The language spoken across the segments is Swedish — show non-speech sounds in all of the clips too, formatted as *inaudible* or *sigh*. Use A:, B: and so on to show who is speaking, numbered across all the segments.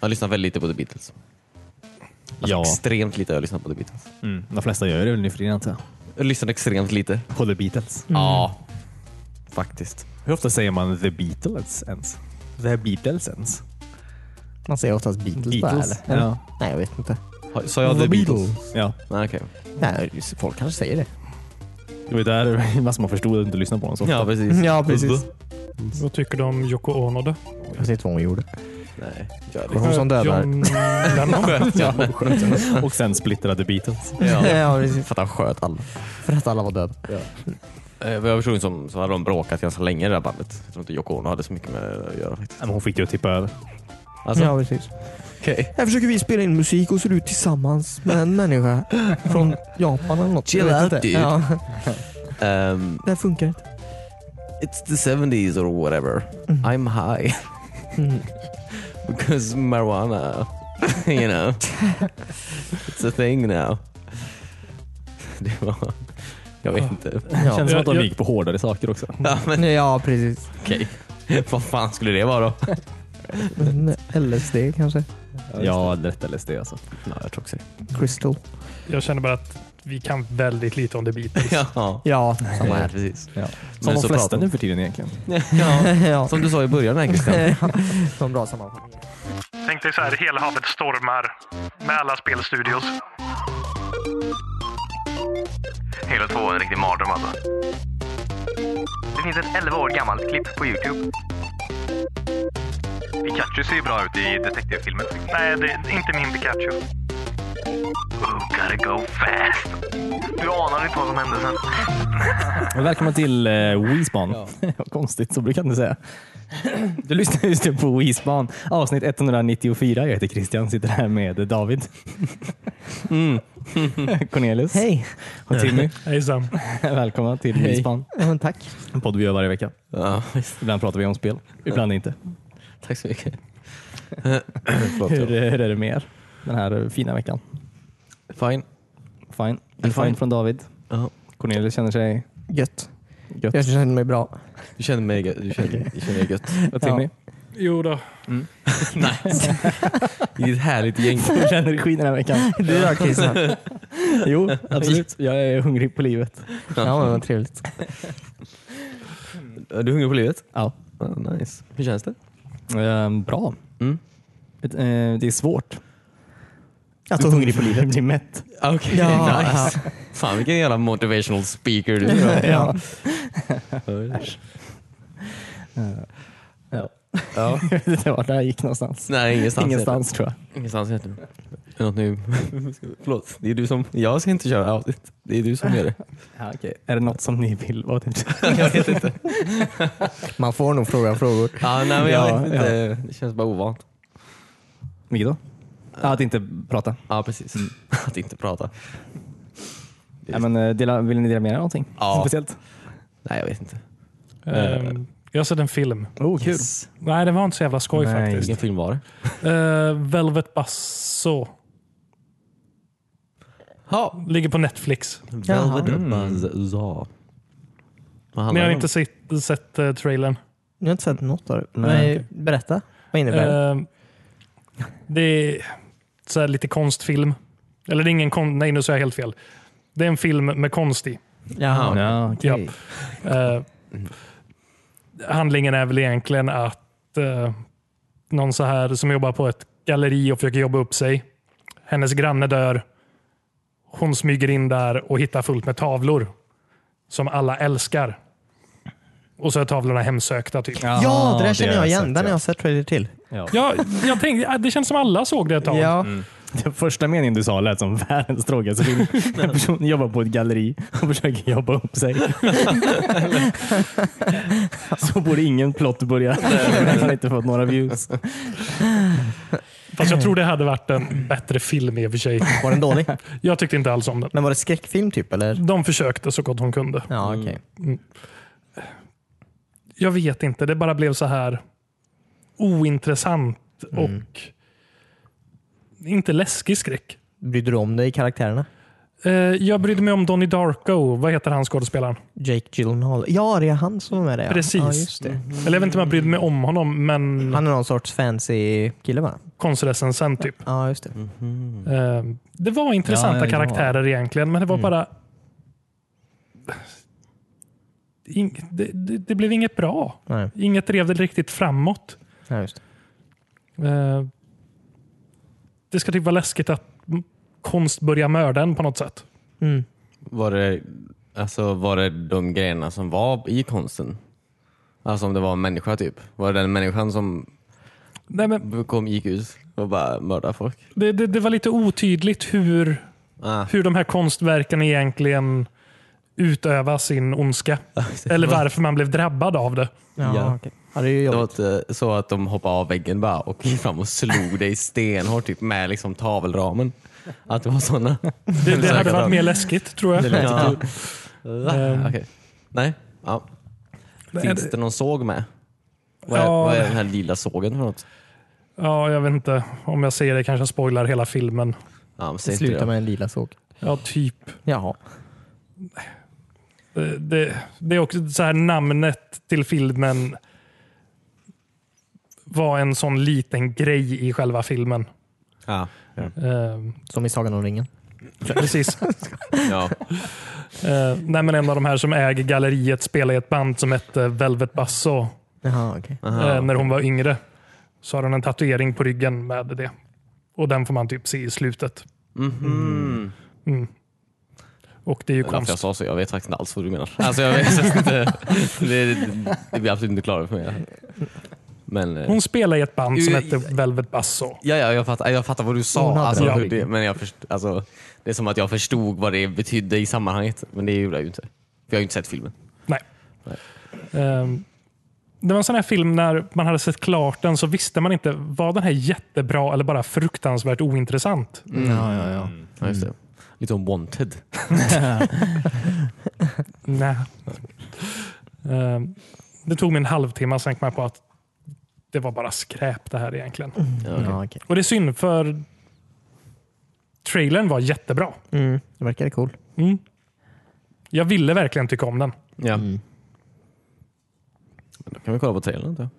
A: Jag lyssnar väldigt lite på The Beatles. Alltså
B: Ja.
A: Extremt lite har jag lyssnat på The Beatles.
B: Mm. De flesta gör det väl nu för tiden antar jag.
A: Jag lyssnar extremt lite.
B: På The Beatles.
C: Mm.
A: Ja, faktiskt.
B: Hur ofta säger man The Beatles ens? The Beatles ens?
C: Man säger oftast Beatles, bara,
B: Beatles?
C: eller? Eller?
B: Ja.
C: Nej, jag vet inte.
A: Har- Sa jag The Beatles?
B: ja.
A: Nej, okej.
C: Nej, just- folk kanske säger det.
B: Det var ju där massor man förstod att inte lyssna på dem så ofta.
A: Ja,
B: *laughs*
A: precis.
C: Ja, precis.
D: Vad tycker du om Yoko Ono då?
C: Jag vet inte vad hon gjorde.
A: Nej, gör
C: Det var hon som dödade.
D: John Lennon?
A: det.
B: Och sen splittrade Beatles.
C: *laughs* Ja,
A: *laughs*
C: precis.
A: För att han sköt alla.
C: För att alla var döda.
A: Eh, vad jag förstod som så hade de bråkat ganska länge i det där bandet. Jag tror inte Yoko Ono hade så mycket med det att göra faktiskt.
B: Men hon fick ju att tippa över.
A: Alltså,
C: Ja, precis.
A: okej.
C: Här försöker vi spela in musik och ser ut tillsammans med en människa från Japan eller något.
A: Chill
C: Jag vet
A: out,
C: inte.
A: dude.
C: Ja,
A: Ehm,
C: det här funkar inte.
A: it's the 70s or whatever. I'm high *laughs*
C: Mm.
A: because marijuana. *laughs* you know. It's a thing now. *laughs* Det var... Jag vet inte.
B: Det
C: Ja.
B: känns som att
D: Ja,
B: de
D: ja.
B: gick på hårdare saker också.
A: *laughs* Ja, men
C: ja, precis.
A: okej. Vad fan skulle det vara då? *laughs*
C: Men LSD kanske?
B: Ja, lätt LSD alltså.
A: Ja, jag tror också det.
C: Crystal?
D: Jag känner bara att vi kan väldigt lite om The Beatles.
A: Ja,
C: Ja.
A: samma här. Precis.
B: Ja. Som
A: Men
B: de
A: så
B: flesta
A: pratar-
B: nu för tiden egentligen.
A: Ja,
C: ja. *laughs*
A: som du sa i början här *laughs* Christian.
C: Som bra sammanfattning.
D: Tänk dig så här, hela havet stormar med alla spelstudios.
E: Hela två är en riktig mardröm alltså. Det finns ett 11 år gammalt klipp på Youtube. Pikachu ser ju bra ut i detektivfilmen.
D: Nej, det är inte min Pikachu.
E: Oh, gotta go fast. Du anar inte vad som hände sen.
B: Välkomna till eh, Wispan. *laughs* Vad konstigt, så brukar jag inte säga. *clears throat* Du lyssnar just nu på Wispan, avsnitt 194. Jag heter Christian, sitter här med David. *laughs* Mm. Cornelius.
C: Hej!
B: Och Timmy.
D: Hejsan.
B: Välkomna till
A: Hej.
B: Wispan.
C: Ja, men tack.
B: En podd vi gör varje vecka.
A: Ja, visst.
B: Ibland pratar vi om spel, ibland inte.
A: Tack så mycket. *laughs* Förlåt.
B: Hur,
A: ja.
B: hur är det med er den här fina veckan?
A: Fine.
B: Fine. En fine
A: fine.
B: från David.
A: Ja.
B: Cornelius känner sig
C: Gött.
B: gött.
C: Jag känner mig bra.
A: Du känner mig gö- du känner, du känner dig *laughs* gött.
B: Och Timmy?
D: Jo då.
A: nice. Det är ett härligt gäng.
B: Hur känner du skiten den här veckan?
C: Du då Christian?
B: Jo, absolut. Jag är hungrig på livet.
C: Ja men vad trevligt.
A: Är du hungrig på livet?
B: Ja.
A: Ja, nice. Hur känns det?
B: Ehm, bra.
A: Mm.
B: Ett, eh, det är svårt.
C: Att vara hungrig på livet.
B: Bli *laughs* mätt.
A: Ah, Okej, *laughs*
C: Ja,
A: nice. Fan vilken jävla motivational speaker du är.
C: Ja.
B: Ja.
A: *laughs* Ja.
B: Jag vet inte vart *laughs* det här gick någonstans.
A: Nej, ingenstans.
B: Ingenstans tror jag.
A: heter det. Ingenstans heter det. Är det något nu? *laughs* Förlåt, det är du som... Jag ska inte köra outet. Det är du som gör *laughs* det.
B: Ja, okej. Är det något som ni vill? Vad tänkte du?
A: jag vet inte.
C: Man får nog fråga frågor.
A: Ja, nej, men jag
B: Ja,
A: vet inte. Det känns bara ovant.
B: Vilket då? Ja, att inte prata.
A: Ja, precis. *laughs* Att inte prata.
B: Ja, men, eh, dela, vill ni dela med er av någonting?
A: Ja.
B: Speciellt?
A: Nej, jag vet inte.
C: Eh.
D: Ehm, jag har sett en film.
B: Oh, kul.
D: Nej, den var inte så jävla skoj
B: Nej.
D: faktiskt.
A: Vilken film var det?
D: Eh, Velvet Basso.
A: Ja. Mm.
D: Ligger på Netflix.
A: Velvet Bazaar. Vad
D: Ni
A: handlar
D: har
A: det om?
D: inte sett, sett eh, trailern?
C: Jag har inte sett något av det.
B: Nej,
C: Nej, berätta. Vad innebär det?
D: Eh, det är så här lite konstfilm. Eller det är ingen konst. Nej, nu sa jag helt fel. Det är en film med konst i.
C: Jaha.
B: Ja, okej.
D: Japp. Eh, handlingen är väl egentligen att eh, någon så här som jobbar på ett galleri och försöker jobba upp sig. Hennes granne dör. Hon smyger in där och hittar fullt med tavlor som alla älskar. Och så är tavlorna hemsökta. Typ. Ja.
C: Ja, det där känner
B: har
C: jag igen.
B: sett,
C: Den har
B: ja.
C: jag sett trailer till.
D: jag tänkte, det känns som alla såg det ett tag.
C: Ja.
B: *laughs* Den första meningen du sa lät som världens tråkigaste film.
C: *laughs*
B: En person jobbar på ett galleri och försöker jobba upp
C: *laughs*
B: sig. Så borde ingen plott börja. Den har inte fått några views.
D: Fast jag tror det hade varit en bättre film i och för sig.
C: Var den *laughs* dålig?
D: Jag tyckte inte alls om den.
C: Men var det skräckfilm typ eller?
D: De försökte så gott hon kunde.
C: Ja okej.
D: Jag vet inte, det bara blev så här ointressant
B: Mm.
D: och inte läskig skräck.
C: Brydde du om dig i karaktärerna?
D: Eh, jag brydde mig om Donnie Darko. Vad heter han skådespelaren?
C: Jake Gyllenhaal. Ja, det är han som är med där. ja.
D: Precis.
C: Ja, just det.
D: Eller jag vet inte om jag brydde mig om honom, men
C: Han är någon sorts fancy kille va?
D: konstrecensent typ.
C: Ja, just det.
D: Eh, det var intressanta
B: Mm. Ja, ja, det var- Mm.
D: karaktärer egentligen, men det var bara... In, det, det, det blev inget bra.
C: Nej,
D: Inget drev det riktigt framåt.
C: ja, just det.
D: Eh, det ska typ vara läskigt att m- konst börjar mörda en på något sätt.
C: Mm.
A: Var det, alltså, var det de grejerna som var i konsten? Alltså om det var en människa typ? Var det den människan som
D: Nej, men
A: kom, gick ut och bara mördade folk?
D: det, det, det var lite otydligt hur,
A: *laughs* Ah.
D: hur de här konstverken egentligen utövar sin ondska. Eller varför man blev drabbad av det.
C: Ja,
A: Ja.
C: okej. ja, det är ju
A: Det var
C: jobbigt.
A: inte *laughs* så att de hoppade av väggen bara och gick fram och slog dig stenhårt typ, med liksom tavelramen? Att *laughs* det var sådana?
D: Det, det hade varit mer läskigt tror jag.
A: Ja.
D: Ehm.
A: Okej. Nej. Ja. Finns det någon såg med? Vad är,
D: Ja.
A: vad är den här lila sågen för något?
D: Ja, jag vet inte. Om jag säger det kanske jag spoilar hela filmen.
A: Ja, men säg
C: Det
A: inte
C: slutar
A: det.
C: med en lila såg.
D: Ja, typ.
C: Jaha.
D: Eh, Det, det är också så här namnet till filmen var en sån liten grej i själva filmen.
A: Ja. Ja.
D: Eh,
C: Som i Sagan om ringen.
D: precis.
A: Ja.
D: Eh, nej, men en av de här som äger galleriet spelade i ett band som hette Velvet Basso
C: Jaha, okej.
A: Aha.
D: eh, när hon var yngre. Så har hon en tatuering på ryggen med det. Och den får man typ se i slutet.
A: Mhm.
D: Och det är ju
A: Det är därför jag
D: konst.
A: sa så. Jag vet faktiskt inte alls vad du menar. Alltså, jag vet inte. Det, det blir absolut inte klarare för mig. Men, eh,
D: Hon spelade i ett band som
A: Ur-
D: hette Velvet Basso.
A: ja, ja, jag, fattar, jag fattar vad du
C: Hon
A: sa.
C: hade
A: Alltså,
D: det.
A: hur det, men jag först, alltså, det är som att jag förstod vad det betydde i sammanhanget. Men det gjorde jag ju inte. För jag har ju inte sett filmen.
D: Nej. Ehm, det var en sån här film när man hade sett klart den så visste man inte, var den här jättebra eller bara fruktansvärt ointressant?
B: Ja, ja, ja.
C: Mm.
A: Ja, just det. Lite om Wanted.
D: Nej. Ehm, det tog mig en halvtimme, sen kom jag på att det var bara skräp det här egentligen.
A: Ja, okej.
C: Ja, okej.
D: Och det är synd för trailern var jättebra.
C: Mm. Det verkade cool.
D: Mm. Jag ville verkligen tycka om den.
A: Ja. Mm. Men då kan vi kolla på trailern. antar jag.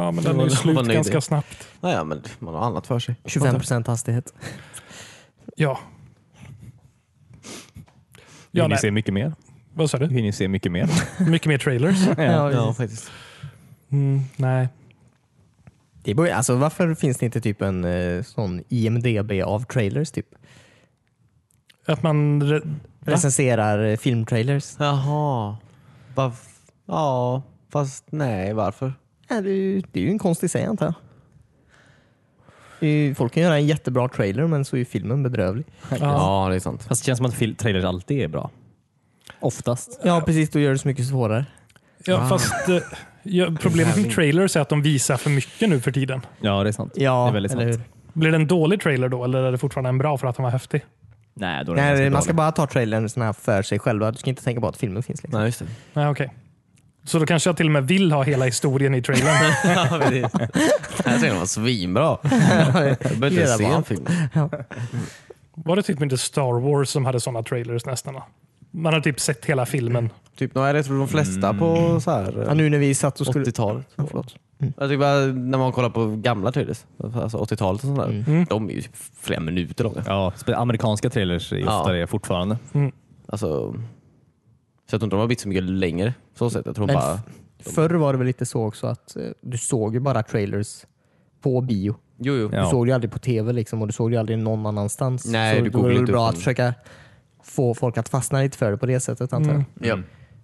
D: Ja, men
A: Jag
D: den är
A: var-
D: ju
A: var
D: slut
A: nöjd.
D: ganska snabbt.
A: Ja, ja, men man har annat för sig.
C: 25 procent hastighet.
D: Ja.
B: Vill
D: Ja,
B: ni
D: nej.
B: se mycket mer?
D: Vad sa du?
B: Vill ni se mycket mer?
D: Mycket mer trailers? *laughs*
C: Ja,
A: Ja,
C: precis.
A: faktiskt.
D: Mm, nej.
C: det borde, alltså, varför finns det inte typ en eh, sån IMDB av trailers? Typ?
D: Att man... re-
C: Recenserar eh, filmtrailers.
A: Jaha. Varf- ja, fast nej, varför?
C: Ja, det, är ju- det är ju en konst i sig antar jag. Det är ju- Folk kan göra en jättebra trailer men så är ju filmen bedrövlig.
D: Ja.
A: Ja, det är sant.
B: Fast det känns som att fil- trailers alltid är bra. Oftast.
C: Ja precis, då gör det så mycket svårare.
D: Ja, fast eh, ja, problemet med trailers är att de visar för mycket nu för tiden.
B: *laughs* Ja, det är sant.
C: Ja,
B: det är väldigt
C: eller
B: sant.
C: hur?
D: Blir det en dålig trailer då eller är det fortfarande en bra för att den var häftig?
B: Nej, då är det
C: Nej,
B: ganska
C: man ska
B: dåligt.
C: bara ta trailern såna här för sig själva. Du ska inte tänka på att filmen finns. Liksom.
A: Nej,
B: *laughs*
A: just det.
D: Nej, okej. Så då kanske jag till och med vill ha hela historien
A: *laughs*
D: i trailern.
A: Ja, precis. Den här trailern var
B: *laughs*
A: svinbra. Jag behöver inte
C: Jävlar.
A: se en film.
D: Var det typ inte Star Wars som hade sådana trailers nästan? va? Man har typ sett hela filmen.
A: Typ, nej, det tror de flesta
B: Mm.
C: Mm.
A: på så här,
C: Ja, nu när vi satt och skulle...
A: 80-talet.
C: Ja, förlåt.
A: Jag tycker bara, när man kollar på gamla trailers, alltså 80-talet och sånt där. De är ju typ flera minuter långa.
B: Ja, spe- amerikanska trailers är ju
A: Ja.
B: oftare fortfarande.
A: Alltså, så jag tror inte de har blivit så mycket längre. på Så sätt. Jag tror
C: Men
A: bara,
C: Förr var det väl lite så också att eh, du såg ju bara trailers på bio.
A: jo, jo.
C: Du
B: Ja.
C: såg det ju aldrig på tv liksom, och du såg det ju aldrig någon annanstans.
A: Nej,
C: så
A: du
C: då var
A: googlade
C: det väl
A: inte
C: bra
A: upp
C: att
A: den.
C: försöka få folk att fastna lite för det på det sättet antar jag.
A: Ja.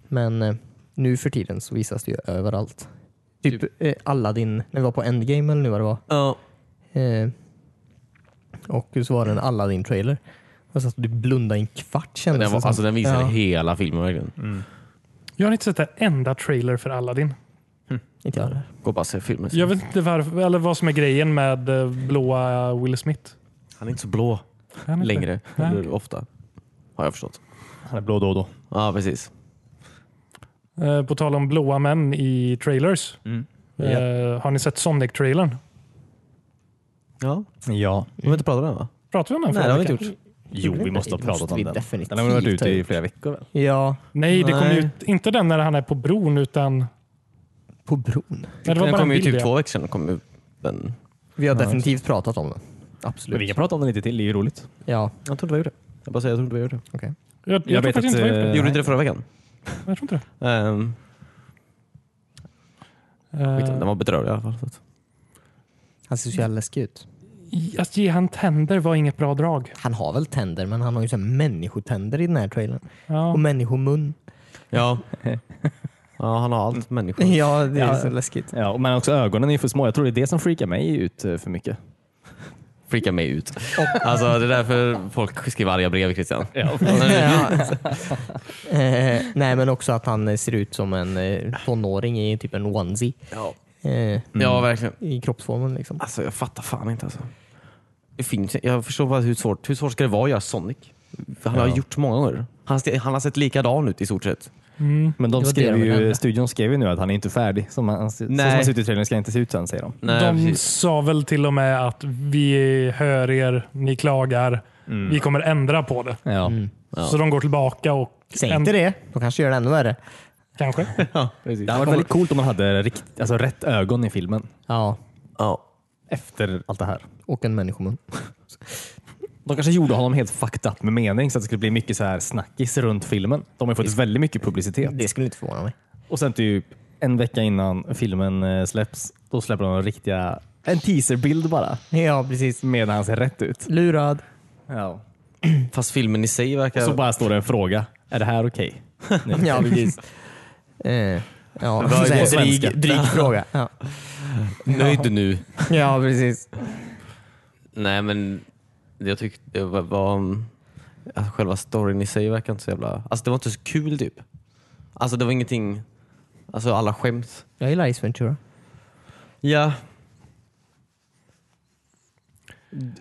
C: Men eh, nu för tiden så visas det ju överallt. Typ,
A: Typ.
C: Eh, Aladdin, när vi var på Endgame eller nu vad det var.
A: Ja.
C: Eh, och så var det en Aladdin-trailer. Jag satt och du blundade i en kvart kändes
A: Den,
C: det
A: var,
C: som.
A: alltså, den visade
C: Ja,
A: hela filmen verkligen.
D: Mm. Jag har inte sett en enda trailer för Aladdin.
C: Inte jag heller.
A: Gå och bara se filmen.
D: Jag vet inte varför, eller vad som är grejen med eh, blåa Will Smith.
A: Han är inte så blå
D: Han är inte-
A: längre.
D: Nej.
A: Eller ofta. Har jag förstått.
B: Han är blå då och då.
A: Ja, precis.
D: Eh, På tal om blåa män i trailers.
B: Mm.
D: Eh, Har ni sett Sonic-trailern?
A: Ja.
B: Ja.
A: Vi har inte pratat om den va?
D: Pratade vi om den
A: Nej, det
D: förra
A: har vi inte
D: veckan?
A: gjort.
B: Jo, vi måste ha
C: Det
B: pratat
C: måste vi
B: om den.
C: definitivt
B: Den har väl varit ute
C: ha
B: i
C: gjort.
B: flera veckor? Väl?
C: Ja,
D: Nej, det kom
C: Nej.
D: ut, inte den när han är på bron utan... Nej,
C: på bron.
D: det var
A: Den
D: bara en
A: kom ju
D: bild.
A: typ
D: ja.
A: två veckor sedan. Kom ju den.
C: Vi har definitivt pratat om den. Absolut.
B: Men vi kan prata om den lite till, det är ju roligt.
C: Ja,
A: Jag trodde vi gjorde det. Jag bara säger, jag trodde vi gjorde det.
C: okej.
D: Jag, jag, tror
B: vet
D: faktiskt
B: att,
D: inte det.
B: eh,
A: Gjorde du inte det förra veckan?
D: Jag tror inte det.
A: Um,
D: Eh,
A: den var bedrövlig i alla fall. Så att.
C: Han ser så jävla läskig ut.
D: Eh, Att ge han tänder var inget bra drag.
C: Han har väl tänder, men han har ju så här människotänder i den här trailern.
D: Ja.
C: Och människomun.
A: Ja. *laughs* ja, han har allt människor. *laughs*
C: *laughs* Ja, det är
B: Ja.
C: så läskigt.
B: Ja, och- men också ögonen är för små. Jag tror det är det som freakar mig ut eh, för mycket.
A: Freakar mig ut. Alltså, det är därför folk skriver arga brev Christian. *laughs*
C: Ja. eh, nej, men också att han eh, ser ut som en eh, tonåring i typ en onesie.
A: Ja.
C: Eh,
A: ja, verkligen.
C: I kroppsformen liksom.
A: Alltså, jag fattar fan inte alltså. Det finns, jag förstår bara hur svårt, hur svårt ska det vara att göra Sonic? Han har
B: Ja.
A: gjort många gånger. Han, ste- han har sett likadan ut i stort sett.
B: Men de
C: Det var
B: skrev
C: det de
B: ju,
C: nämnde.
B: studion skrev ju nu att han är inte färdig. Som han, så som
A: Nej.
B: han ser ut i trailern ska han inte se ut sen, säger de.
A: Nej,
D: de
A: precis.
D: sa väl till och med att vi hör er, ni klagar, vi kommer ändra på det.
B: Ja.
C: Mm.
D: Så de går tillbaka och...
C: Säg
D: änd-
C: inte det. De kanske gör det ännu värre.
D: Kanske.
B: Det hade varit väldigt coolt om man hade rikt, alltså, rätt ögon i filmen
C: Ja,
A: Ja.
B: efter allt det här.
C: och en människomun.
B: De kanske gjorde honom helt fucked up med mening så att det skulle bli mycket så här snackis runt filmen. De har ju fått väldigt mycket publicitet.
C: Det skulle inte förvåna mig.
B: Och sen typ en vecka innan filmen eh, släpps, då släpper de en riktiga en teaserbild bara
C: Ja, precis.
B: med när han ser rätt ut.
C: Lurad.
B: Ja.
A: Fast filmen i sig verkar...
B: Så bara står det en fråga. Är det här okej?
C: Ja, precis. *laughs* Eh, ja,
A: Vad är
C: så här,
A: det på svenska?
C: dryg, dryg fråga. Ja.
A: Nöjd nu.
C: ja, precis.
A: Nej, men jag tyckte det var... var alltså, själva storyn i sig verkar inte så jävla... Alltså det var inte så kul typ. Alltså det var ingenting... Alltså alla skämt.
C: Jag gillar Ace Ventura.
A: Ja.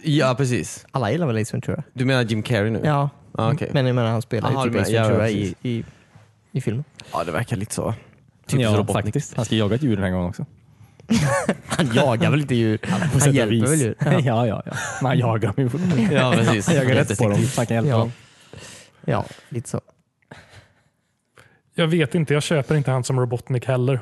A: Ja, precis.
C: Alla gillar väl Ace Ventura?
A: Du menar Jim Carrey nu?
C: Ja,
A: Ah, okej.
C: men jag menar han spelar
A: Aha,
C: ju
A: du menar-
C: typ Ace
A: ja, ja,
C: Ventura i,
A: precis.
C: i, i filmen.
A: Ja, det verkar lite så.
B: ja,
A: Robotnik.
B: faktiskt. Han ska jaga ett djur den här gången också.
C: Han jagar väl inte djur? *laughs* Han hjälper väl djur?
B: Ja. *laughs* ja, ja, ja. Men han jagar dem ju.
A: Ja, precis.
B: Han jagar rätt på dem. Han kan hjälpa
C: Ja.
B: dem.
C: Ja, lite så.
D: Jag vet inte, jag köper inte han som Robotnik heller.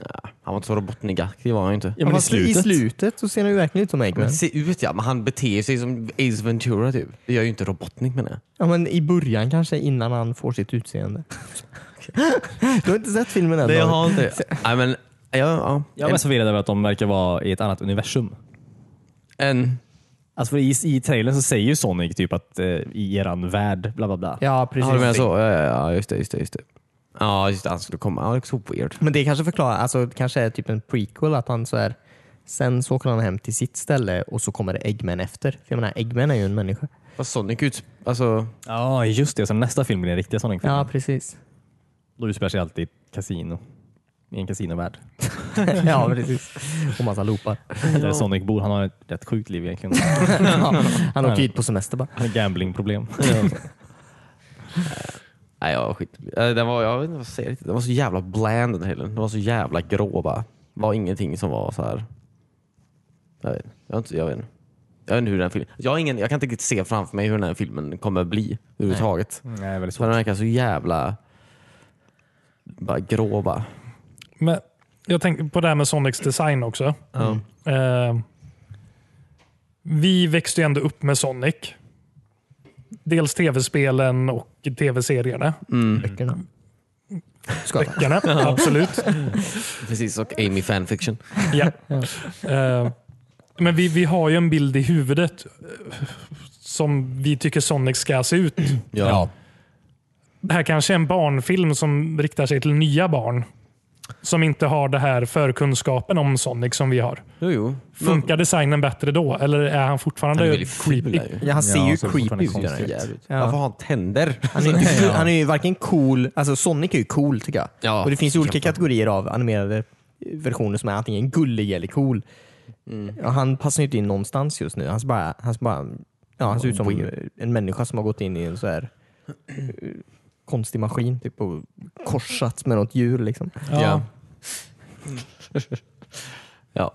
A: Ja, han var inte så robotnikaktig var han ju inte.
B: Ja, men i
C: Fast
B: slutet.
C: I slutet så ser han ju verkligen ut som Eggman.
A: Men se ut ja, men han beter sig som Ace Ventura typ. Det gör ju inte Robotnik menar jag.
C: Ja, men i början kanske innan han får sitt utseende. du har inte sett filmen än? David.
A: jag inte. Nej men, ja, ja.
B: Jag var förvirrad över att de verkar vara i ett annat universum.
A: En,
B: Alltså för i, i trailern så säger ju Sonic typ att eh, i eran värld bla bla bla.
C: Ja, precis.
A: ja du menar så? Ja, ja, ja, just det, just det, just det. Ja, just det, han skulle komma. Ja, det är så weird.
C: Men det kanske förklarar, alltså det kanske är typ en prequel att han så är Sen så åker han hem till sitt ställe och så kommer det Eggman efter. För jag menar, Eggman är ju en människa.
A: Fast Sonic ut, alltså,
B: Ja, Ah, just det. Så nästa film blir den riktiga Sonic-filmen.
C: Ja, precis.
B: Då utspelar sig alltid i ett kasino. I en kasinovärld.
C: *laughs* ja, precis. Och massa loopar.
B: Där Sonic bor. Han har ett rätt sjukt liv egentligen.
C: Ja, han åker hit på semester bara.
B: Han har
C: *laughs*
B: gamblingproblem.
C: Mm.
A: nej ja, skit. Eh, Den var, jag vet inte vad jag säger riktigt. Den var så jävla bland den heller. Den var så jävla grå bara. Det var ingenting som var så här. Jag vet, jag vet inte. Jag vet inte. Jag vet inte hur den filmen... Jag, har ingen, jag kan inte riktigt se framför mig hur den här filmen kommer bli överhuvudtaget.
B: Nej, väldigt
A: För den verkar så jävla bara grå bara.
D: Men jag tänker på det här med Sonics design också. Eh, vi växte ju ändå upp med Sonic. Dels tv-spelen och tv-serierna.
C: Böckerna. Skoja.
D: Böckerna, absolut.
A: Precis, och Amy fanfiction.
D: Ja. Eh, men vi, vi har ju en bild i huvudet eh, som vi tycker Sonic ska se ut.
A: Ja.
D: Det här kanske är en barnfilm som riktar sig till nya barn. Som inte har det här förkunskapen om Sonic som vi har.
A: Jo, jo.
D: Funkar designen bättre då? Eller är han fortfarande
A: Han är väldigt ful
D: creepy?
A: där ju.
C: Ja, han ser
B: Ja,
C: ju
B: så
C: creepy
B: fortfarande
C: ut.
B: konstigt.
C: gör han.
A: Jävligt.
C: Ja.
A: Varför har han tänder?
C: Han är, ju inte, han är ju varken cool, alltså Sonic är ju cool tycker jag.
A: Ja,
C: och det finns ju olika
A: såklart.
C: kategorier av animerade versioner som är antingen gullig eller cool. Ja, Han passar ju inte in någonstans just nu. Han, ser bara, han, ser bara, ja, han ser ut som en människa som har gått in i en så här eh, konstig maskin typ, och korsats med något djur. Liksom.
A: Ja. ja.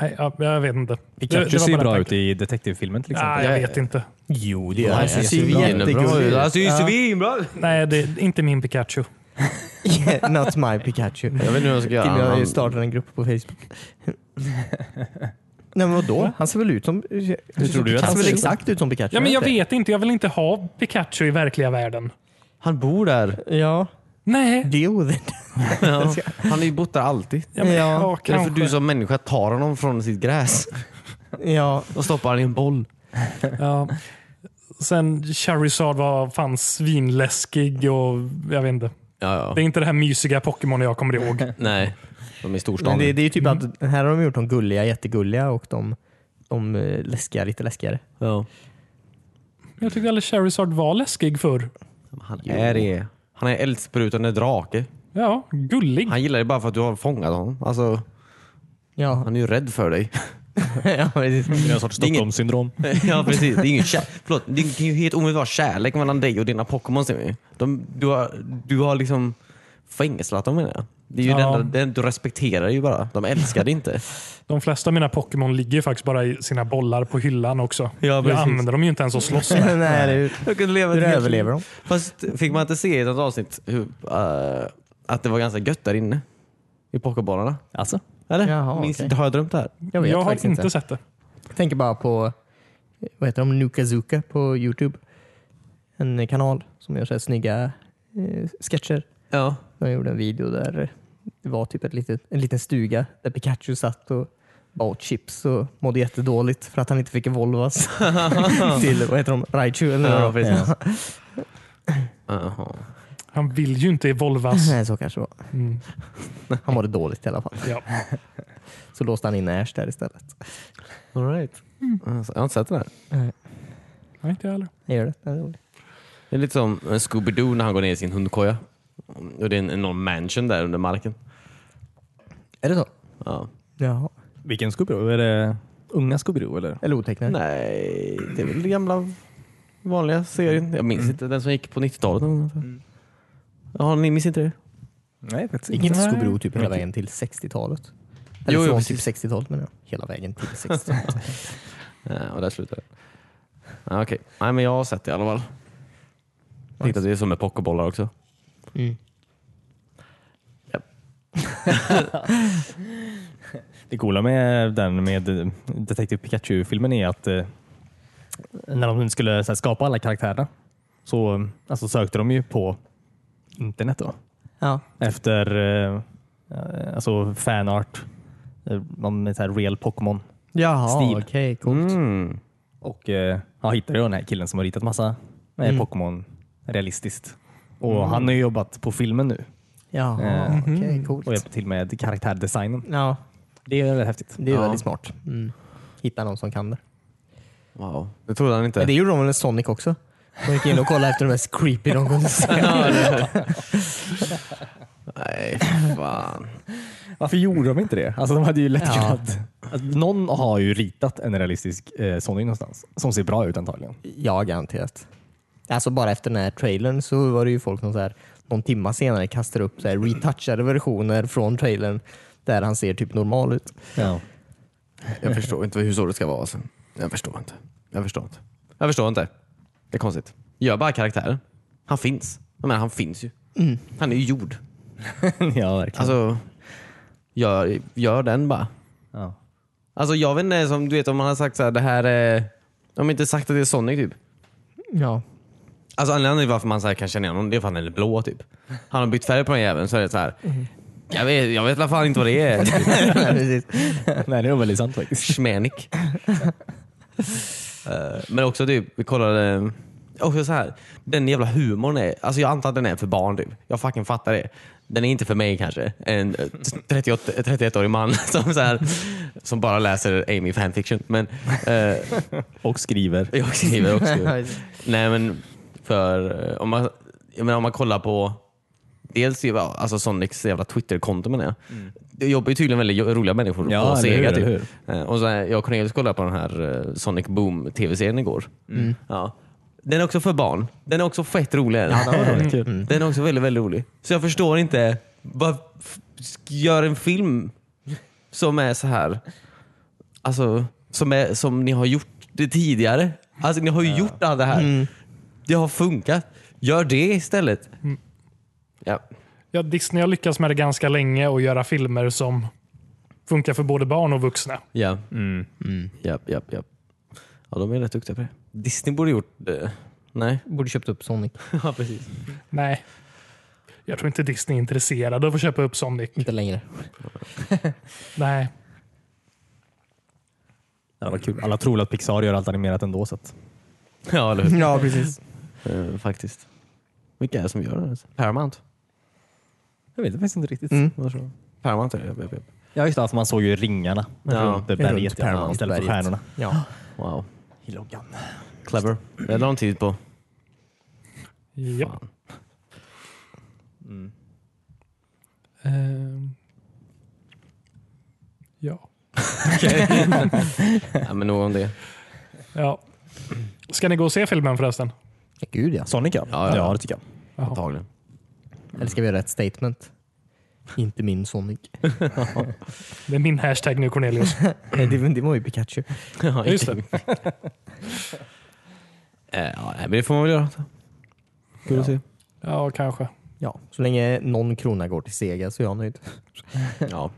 D: Nej, ja, jag vet inte.
B: Pikachu ser ju
D: bara
B: bra
D: en
B: ut i detektivfilmen till exempel.
D: tanke. Nej, jag
A: Ja,
D: vet inte.
C: Jo, det gör
A: Han
C: han.
A: ser
C: Han ser jättegullig
A: svinbra ut.
C: ut.
A: Han ser ju svinbra ut.
D: Nej, det är inte min Pikachu.
C: Yeah, Not my Pikachu.
A: Jag vet inte hur jag ska
C: Till
A: göra.
C: jag
A: Han,
C: startade en grupp på Facebook. Nej men vadå? Han ser väl ut som... Hur
B: tror du att
C: han
B: han
C: ser
B: ser
C: väl
B: ut?
C: exakt ut som Pikachu?
D: Ja, men jag
C: inte?
D: vet inte. Jag vill inte ha Pikachu i verkliga världen.
A: han bor där.
C: Ja,
D: Nej,
C: deal with it.
A: Ja. Han har ju bott där alltid.
D: ja, men,
C: Ja,
D: ja,
C: därför
A: Det är därför
D: kanske.
A: du som människa tar honom från sitt gräs
C: *laughs* Ja,
A: *laughs* och stoppar han i en boll.
D: Ja. Sen Charizard var fan svinläskig och jag vet inte.
A: Ja, ja.
D: Det är inte det här mysiga Pokémon jag kommer
A: *laughs*
D: ihåg.
A: Nej, de är i storstan.
C: men det, det är ju typ att här har de gjort de gulliga jättegulliga och de, de eh, läskiga lite läskigare.
A: Ja.
D: Jag tyckte aldrig Charizard var läskig förr.
A: Han är det. Han är eldsprutande drake.
D: Ja, gullig.
A: Han gillar dig bara för att du har fångat honom. Alltså,
C: Ja, *laughs*
A: han är ju rädd för dig.
C: ja precis.
B: Det är en sorts
A: Det är inget-
B: Stockholmssyndrom.
A: *laughs* ja precis. Det är ingen kär... Förlåt, det kan ju helt omöjligt vara kärlek mellan dig och dina Pokémon. ser vi. De, du, har, du har liksom fängslat dem menar jag. Det är ju
D: Ja.
A: det enda, det, du respekterar ju bara. De älskar dig inte.
D: De flesta av mina Pokémon ligger ju faktiskt bara i sina bollar på hyllan också. jag
A: precis.
D: använder dem ju inte ens att slåss med.
C: Nej, det är ju...
A: Jag kunde leva
C: Hur
A: ett helt
C: överlever
A: liv. Fast fick man inte se i ett avsnitt hur, eh, att det var ganska gött där inne? I pokébollarna?
B: Alltså?
A: Eller?
C: Jaha,
A: Minns,
C: okej.
A: inte- Har jag drömt det här?
C: *laughs* Jag vet
D: jag har
C: faktiskt
D: inte
C: inte.
D: sett det.
C: Jag tänker bara på, vad heter de, Nukazuka på Youtube. En kanal som gör så här snygga eh, sketcher.
A: Ja.
C: De gjorde en video där det var typ ett litet, en liten stuga där Pikachu satt och bara åt chips och mådde jättedåligt för att han inte fick Volvas *laughs* till, vad heter de, Raichu eller
A: Ja,
C: vad det var.
A: precis. Jaha.
D: Han vill ju inte
C: *laughs*
D: evolvas.
C: Nej, så kanske det var.
D: Mm.
C: Han mådde dåligt i alla fall.
D: Ja.
C: Så låste han in Ash där istället.
A: All right. Alltså, Jag har inte sett den här.
D: Nej, inte jag heller.
C: Jag gör det. det är roligt.
A: Det är lite som eh, Scooby-Doo när han går ner i sin hundkoja. Och det är en enorm mansion där under marken.
C: Är det så?
A: Ja.
C: Jaha.
B: Vilken Scooby-Doo? Är det unga Scooby-Doo eller?
C: Eller otecknat?
A: Nej, det är väl den gamla vanliga serien. Jag minns
C: Mm.
A: inte. Den som gick på 90-talet. Mm. Ja, ni minns inte det?
B: Nej, faktiskt
C: Gick inte Scooby-Doo typ hela vägen till 60-talet? Eller
A: Jo, jo,
C: från typ
A: precis.
C: 60-talet menar jag. Hela vägen *laughs* till 60-talet.
A: Ja, Eh, och där slutar det. Ja, Okej, Nej, men jag har sett det i alla fall. Jag Tänkte att det är som med pokébollar också.
C: Mm.
B: Det coola med den med eh, Detective Pikachu-filmen är att eh, när de skulle så här, skapa alla karaktärerna så eh, alltså, sökte de ju på internet då.
C: Ja.
B: efter eh, eh, alltså fanart eh, om så här real Pokémon.
C: Jaha,
B: Stil.
C: okej. coolt.
A: Mm.
B: Och eh, jag hittade ju den här killen som har ritat massa eh,
C: Mm.
B: Pokémon realistiskt. Och Han har ju jobbat på filmen nu
C: Jaha,
B: Eh,
C: okej.
B: och
C: coolt.
B: hjälpt till med karaktärdesignen.
C: Ja,
B: Det är väldigt häftigt.
C: det är
A: Ja.
C: väldigt smart. Mm. Hitta någon som kan det.
A: Wow, det trodde han inte.
C: Men det gjorde de väl med Sonic också? De gick in och kollade efter de mest creepy de kunde se.
A: Nej, fan.
B: Varför gjorde de inte det? Alltså, de hade ju lätt
C: Ja.
B: kunnat... Alltså, någon har ju ritat en realistisk eh, Sonic någonstans som ser bra ut antagligen.
C: Ja, garanterat. Alltså bara efter den här trailern så var det ju folk som så här, någon timma senare kastade upp så här retouchade versioner från trailern där han ser typ normal ut.
B: Ja.
A: Jag förstår inte hur så det ska vara. Alltså. Jag förstår inte. Jag förstår inte. Jag förstår inte. Det är konstigt. Gör bara karaktären. Han finns. Jag menar, han finns ju. Han är ju gjord.
B: ja, *laughs* verkligen.
A: Alltså, gör, gör den bara.
B: ja.
A: Alltså jag vet inte, som du vet om man har sagt så här, det här är... De har inte sagt att det är Sonic typ.
C: Ja.
A: Alltså anledningen till varför man så här kan känna igen honom, det är för att han är blå typ. Han har bytt färg på den jäveln så är det så här. Jag vet, jag vet i alla fall inte vad det är.
C: Nej, precis.
B: Nej, det är väldigt sant faktiskt.
A: Schmenik. men också typ, vi kollade... Också så här, den jävla humorn är... Alltså jag antar att den är för barn typ. Jag fucking fattar det. Den är inte för mig kanske. En eh, 38 31-årig man *laughs* som, så här, som bara läser Amy fanfiction. Men eh,
B: Och skriver.
A: *laughs* jag skriver
B: *laughs*
A: också. Nej men för eh, om man, jag menar, om man kollar på dels ju, alltså Sonics jävla Twitterkonto menar jag. Det jobbar ju tydligen väldigt jo- roliga människor
B: Mm. Ja,
A: på
B: eller hur,
A: Sega.
B: eller
A: Typ. Eh, Och så här, jag och Cornelius kollade på den här eh, Sonic Boom tv-serien igår.
B: Mm.
A: Ja. Den är också för barn. Den är också fett rolig. är den.
B: Mm.
A: Den är också väldigt, väldigt rolig. Så jag förstår inte, bara f- gör en film som är så här alltså, som, är, som ni har gjort det tidigare. Alltså ni har ju gjort allt det här. Det har funkat. Gör det istället. Ja.
D: Ja, Disney har lyckats med det ganska länge och göra filmer som funkar för både barn och vuxna.
A: Ja. Mm. Ja, ja, ja. ja, de är rätt duktiga på det. Disney borde gjort det. Nej.
C: Borde köpt upp Sonic.
A: *laughs* ja, precis.
D: Nej. Jag tror inte Disney är intresserad av att köpa upp Sonic.
C: Inte längre.
D: Nej.
B: Det var kul. Alla tror väl att Pixar gör allt animerat ändå. Så att,
A: Ja, eller *laughs* hur?
C: Ja, precis.
A: Eh, faktiskt. Vilka är det som gör det? Paramount?
B: jag vet faktiskt inte riktigt.
C: Mm.
A: Vad tror du? Paramount är det. Japp, japp, japp.
B: Ja, just det, alltså man såg ju ringarna
A: Ja,
B: runt det
C: runt
B: berget ja,
C: Paramount
B: istället för
C: berget.
B: stjärnorna.
C: Ja.
A: Wow.
B: I loggan.
A: Clever. Det la de tid på.
D: Ja.
A: Fan.
D: Ehm. Ja.
A: ja, men nog om det.
D: ja. Ska ni gå och se filmen förresten?
C: Gud ja.
B: Sonic ja.
A: Ja, ja.
B: det tycker jag.
D: Jaha.
A: Antagligen.
C: Eller ska vi göra ett statement? Inte min Sonic.
D: Det är min hashtag nu Cornelius.
C: *laughs* Nej, det, det var ju Pikachu.
A: ja,
D: Just det.
A: *laughs* Eh, ja, nej, men det får man väl göra. Kul att se.
D: *laughs* Ja, kanske.
C: Ja, så länge någon krona går till Sega så är jag nöjd.
A: Ja.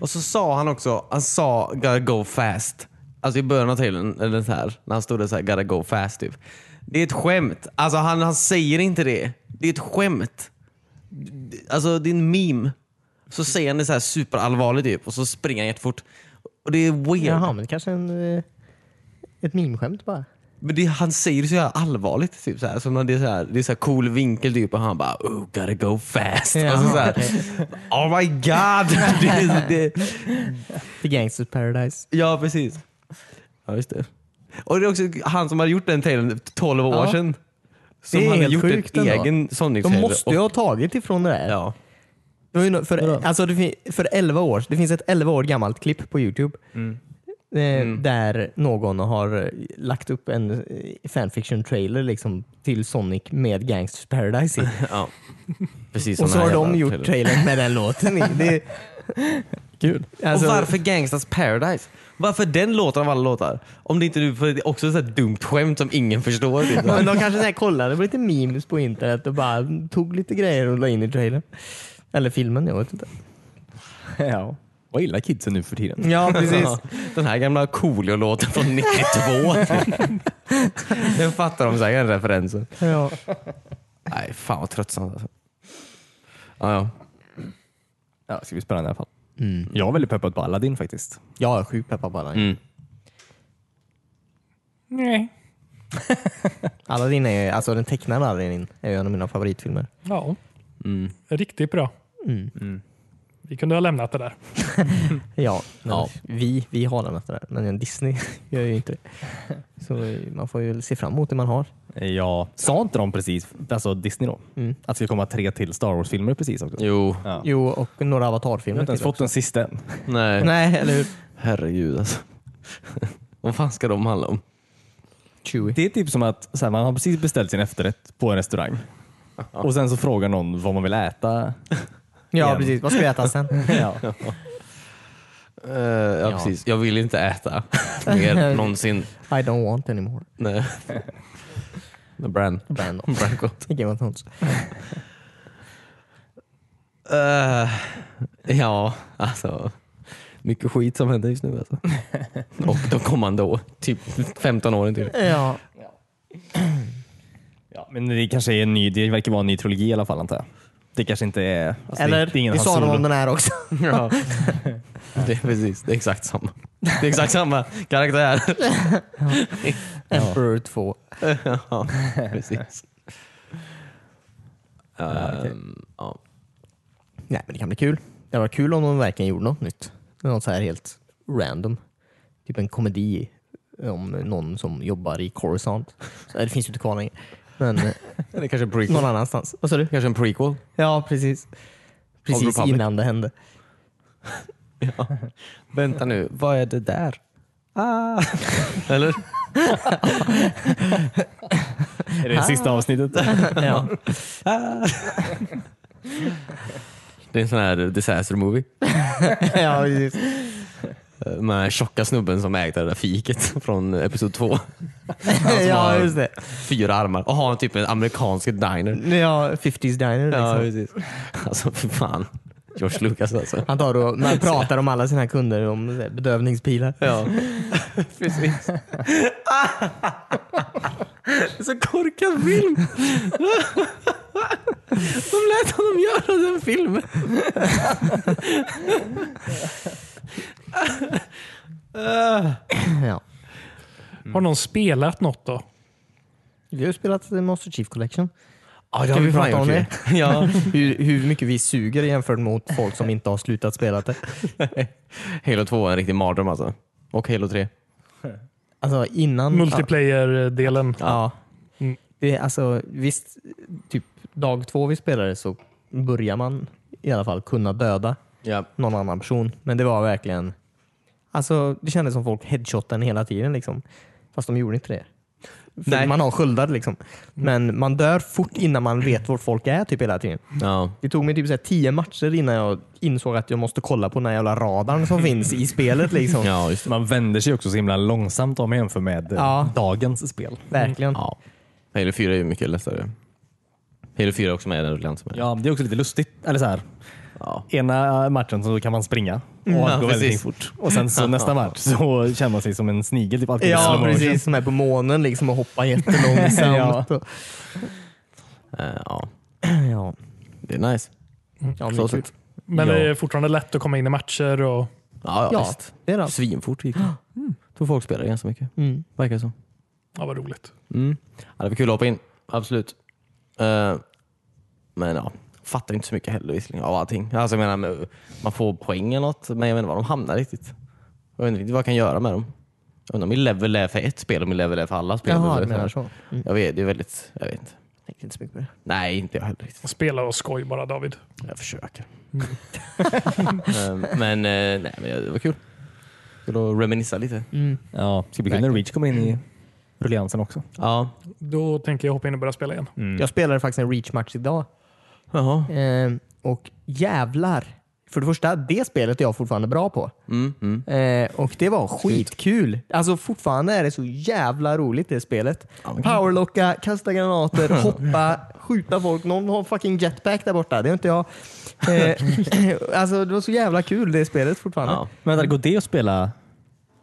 A: Och så sa han också, han sa gotta go fast. Alltså i början av trailern, eller så här, när han stod där så här, gotta go fast typ. Det är ett skämt. Alltså han, han säger inte det. Det är ett skämt. Alltså det är en meme. Så säger han det så här superallvarligt typ och så springer han jättefort. Och det är weird.
C: Jaha, men kanske en, eh, ett mimskämt bara.
A: Men det, han säger det så jävla allvarligt. Typ, så här, som när det är så här, det är så här cool vinkel typ, och han bara oh, gotta go fast.
C: Ja,
A: och så, så här, Oh my
C: *laughs*
A: god! det, är- det,
C: The Gangsters Paradise.
A: Ja, precis. Ja, just det. Och det är också han som hade gjort den trailern 12 år
C: Ja.
A: sedan. Som
C: Det är
A: hade
C: helt
A: gjort en
C: sjukt ändå.
A: egen
C: De
A: Sonic-trailer.
C: måste ju ha tagit ifrån det där.
A: Ja.
C: Det var ju nå- för, alltså det, fin- för 11 år, det finns ett 11 år gammalt klipp på Youtube
A: Mm.
C: eh, där någon har eh, lagt upp en eh, fanfiction-trailer liksom, till Sonic med Gangsters
A: *laughs*
C: Paradise i.
A: ja. Precis
C: Och så
A: såna
C: har
A: här
C: de
A: jävla
C: gjort
A: trailers.
C: trailern med den låten i.
A: *laughs*
C: Det,
B: Kul.
C: alltså-
A: Och varför Gangsters Paradise? Varför den låten av alla låtar? Om det inte nu för det är också ett så här dumt skämt som ingen förstår. typ.
C: Men de kanske så här kollade på lite memes på internet och bara tog lite grejer och la in i trailern. Eller filmen, jag vet inte.
B: *laughs* ja. Mm. Vad illa kidsen nu för tiden.
C: Ja,
A: Ja, Den här gamla Coolio-låten från 92. *laughs* den fattar de säkert referensen.
C: *laughs* ja.
A: Nej, fan vad tröttsamt alltså. Ja, ja.
B: Ja, det ska bli spännande i alla fall. Jag är väldigt peppad på Aladdin faktiskt.
C: Jag är sjukt peppad på Aladdin.
A: Mm.
D: Nej.
C: Aladdin är ju, alltså den tecknade Aladdin är ju en av mina favoritfilmer.
D: Ja.
C: Mm.
D: Riktigt bra.
B: Mm.
D: Vi kunde ha lämnat det där.
C: Ja, men
A: Ja.
C: Vi, vi har den efter det här, men Disney *laughs* gör ju inte det. Så man får ju se fram emot det man har.
B: Ja, sa inte de precis, alltså Disney då,
C: Mm.
B: att det ska komma tre till Star Wars-filmer precis också?
A: Jo.
B: Ja.
C: Jo, och några
B: Jag har
C: Avatar-filmer.
B: inte ens
C: till
B: fått den sista än.
A: Nej.
C: också. Nej, eller hur?
A: Herregud alltså. Vad fan ska de handla om?
C: Chewie.
B: Det är typ som att så här, man har precis beställt sin efterrätt på en restaurang och sen så frågar någon vad man vill
C: *laughs*
B: äta.
C: Ja,
B: igen.
C: precis. Vad ska vi
B: *laughs*
C: äta sen?
B: ja.
A: Eh, ja, precis. Jag vill inte äta *laughs* mer någonsin.
C: I don't want anymore.
A: Nej. Brand.
C: Brandon.
A: Brandgott.
C: Game of Thrones.
A: Eh, ja, alltså. Mycket skit som händer just *laughs* nu alltså. Och de kommande år. Typ 15 åren till.
C: Ja.
B: Ja, men det kanske är en ny, det verkar vara en ny trilogi i alla fall antar jag. Det kanske inte är... Alltså,
C: Eller,
B: det, det är ingen
C: vi
B: Han
C: sa det
B: Solo.
C: om den här också.
A: Ja. *laughs* Det är precis, det är exakt samma. Det är exakt samma karaktär. *laughs*
C: Emperor 2.
A: ja, precis. Ehm, ja.
C: Nej, men det kan bli kul. Det var kul om de verkligen gjorde något nytt. Något så här helt random. Typ en komedi om någon som jobbar i Coruscant. Så, det finns ju inte kvar längre.
A: *laughs*
C: Men eh,
A: Det är kanske en prequel.
C: någon annanstans. Vad sa du?
A: Kanske en prequel.
C: Ja, precis. Precis
A: Republic.
C: innan det
A: *laughs*
C: hände.
A: Vänta nu, vad är det där? Ah. Eller?
B: Är det det sista
C: *laughs*
B: avsnittet?
C: ja.
A: Det är en sån här disaster movie.
C: ja, precis.
A: Den här tjocka snubben som ägde det där fiket från episod två.
C: *laughs* ja, just det.
A: Fyra armar och har typ en amerikansk diner.
C: Ja, 50s diner.
A: Ja,
C: Liksom.
A: precis. Alltså för fan. George Lucas alltså.
C: Han tar
A: *laughs*
C: och man pratar om alla sina kunder om så här, bedövningspilar.
A: Ja, precis. Det är så korkad film. De lät honom göra den filmen.
C: Ja.
B: Mm.
D: Har någon spelat något då?
C: Vi har ju spelat The Master Chief Collection.
A: Ja, det
C: Ska vi prata om
A: *laughs* Ja,
C: Hur, hur mycket vi suger jämfört mot folk som inte har slutat spela det.
A: *laughs* Halo 2 är en riktig mardröm alltså. Och Halo 3.
C: Alltså innan...
D: Multiplayer-delen.
C: Ja.
D: Mm.
C: Det är alltså, visst, typ dag två vi spelade så börjar man i alla fall kunna döda
A: Ja.
C: någon annan person. Men det var verkligen... Alltså, det kändes som folk headshotade en hela tiden. Liksom. Fast de gjorde inte det. För
A: Nej. Mm.
C: Man har sköldar liksom. Men man dör fort innan man vet vart folk är typ hela tiden.
A: ja.
C: Det tog mig typ så här tio matcher innan jag insåg att jag måste kolla på den här jävla
A: *laughs*
C: radarn som finns i spelet. Liksom.
A: Ja, just det.
B: Man vänder sig också så himla långsamt om man jämför med eh,
C: Ja.
B: dagens spel.
C: Verkligen.
A: Ja. Halo 4 är ju mycket lättare. Halo 4 är också med i den rullan som är.
B: Ja, det är också lite lustigt. Eller så här,
A: Ja.
B: ena matchen så kan man springa och
A: Mm.
B: allt
A: Ja,
B: går väldigt
A: precis.
B: fort. Och
A: *laughs*
B: sen så nästa match så känner man sig som en snigel. Typ allt går i slow
C: Ja,
B: motion.
C: precis. Som är på månen liksom, och
A: *laughs*
C: hoppar jättelångsamt. ja.
A: Eh, ja.
C: Ja.
A: Det är nice. Så
C: Ja, mycket.
A: sett.
D: Men
A: Ja.
D: det är fortfarande lätt att komma in i matcher. Och...
A: Ja, ja,
C: Ja,
A: visst.
C: det är det.
A: Svinfort gick
C: *gasps*
A: det. Tror folk spelar ganska mycket.
C: Mm.
A: Verkar det som.
D: Ja, vad roligt.
A: Mm. Ja, det var kul att hoppa in. Absolut. Eh, men ja, fattar inte så mycket heller visserligen av allting. Alltså, jag menar, men, man får poäng eller något, men jag vet inte var de hamnar riktigt. Jag vet inte riktigt vad jag kan göra med dem. Jag undrar om min level är för ett spel och min level är för alla spel.
C: Jaha,
A: Eller
C: du
A: så här.
C: menar så. Mm.
A: Jag vet, det är väldigt... Jag vet inte.
C: Jag tänkte inte så mycket på det.
A: Nej, inte jag heller riktigt.
D: Spela och skoj bara David.
A: Jag försöker. Eh, *laughs* men eh, nej, men det var kul. Kul att reminissa lite.
B: Ja, ska bli kul när Reach kommer in i rulliansen också.
A: Ja.
D: Då tänker jag hoppa in och börja spela igen.
B: Mm.
C: Jag spelade faktiskt en Reach-match idag.
A: Jaha.
C: Eh, och jävlar. För det första, det spelet är jag fortfarande bra på.
A: Mm, mm.
C: Eh, och det var skitkul. Alltså fortfarande är det så jävla roligt det spelet. Powerlocka,
A: *laughs*
C: kasta granater, hoppa, skjuta folk. Någon har fucking jetpack där borta. Det är inte jag. Eh, *laughs* alltså det var så jävla kul det spelet fortfarande.
A: Ja.
B: Men vänta, går det att spela?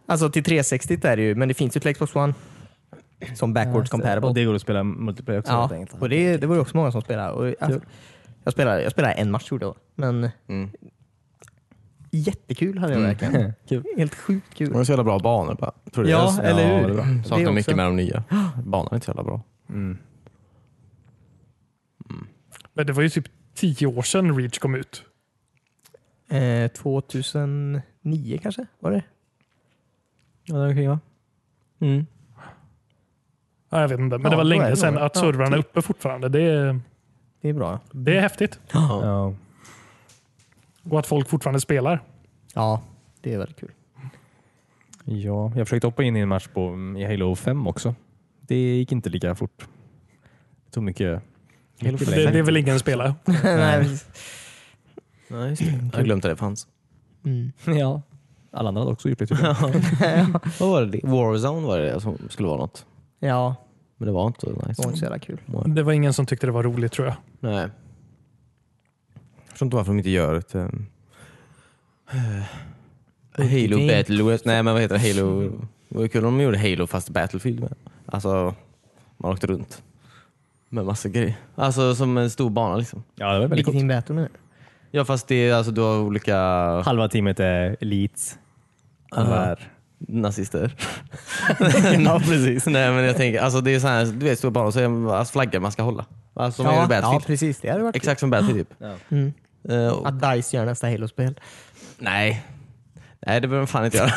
C: Alltså till 360 är det ju, men det finns ju till Xbox One. Som backwards compatible.
B: Och det går att spela multiplayer också
C: Ja,
B: helt enkelt.
C: och det, det var ju också många som spelade. Och, alltså, jag, spelade jag spelade en match gjorde jag, men
A: Mm.
C: jättekul hade jag verkligen.
B: Kul.
C: Helt sjukt
A: De
C: kul.
A: har så jävla bra banor bara. Tror du
C: Ja,
A: det?
C: eller
B: Ja,
C: hur?
B: det är bra.
C: Det
A: Saknar
C: också.
A: mycket med de nya. Banan är inte så jävla bra.
B: Mm.
D: Men det var ju typ tio år sedan Reach kom ut.
C: Eh, 2009 kanske var det?
A: Ja, det är va? Mm.
D: Ja, jag vet inte, men
C: Ja,
D: det var
C: då är
D: länge
C: det
D: sedan
C: nog.
D: att
C: Ja, Mm.
D: servrarna är uppe fortfarande. Det är,
C: Det är bra.
D: det är häftigt.
A: Ja.
B: Ja.
D: Och att folk fortfarande spelar.
C: Ja, det är väldigt kul.
B: ja, jag försökte hoppa in i en match på, i Halo 5 också. Det gick inte lika fort. Det tog mycket. mycket
D: För
B: längre
D: det, det är
B: tid.
D: väl ingen spelare.
C: Nej, precis.
A: Nej, just det. Jag glömde att det fanns.
C: mm.
B: *laughs* Ja. Alla andra hade också gjort det. Typ.
A: Vad var det? Warzone var det som skulle vara något.
C: Ja,
A: Men det var inte så
C: det var
A: nice.
C: inte så jävla kul.
D: Det var ingen som tyckte det var roligt tror jag.
A: Nej. Jag förstår inte varför de inte gör ett... ehm, eh, Halo
C: Game.
A: Battle... Nej, men vad heter det? Halo... Det var kul om de gjorde Halo fast Battlefield med. Alltså, man åkte runt med massa grejer. Alltså som en stor bana liksom.
B: Ja, det var väldigt
C: Vilket
B: coolt.
C: team battle menar du?
A: Ja, fast det är alltså du har olika... eh,
B: Halva teamet är elites. Alla är
A: nazister. *laughs* ja precis. Nej men jag tänker, alltså det är så här, du vet stora banor så är det alltså, flaggan man ska hålla. Alltså som
C: Ja,
A: ja,
C: ja,
A: Battlefield.
C: precis. Det hade varit kul.
A: Exakt som Battlefield typ.
C: Mm.
A: Eh, och,
C: Att DICE gör nästa Halo-spel.
A: nej. Nej det behöver man fan inte *laughs* göra. Eh,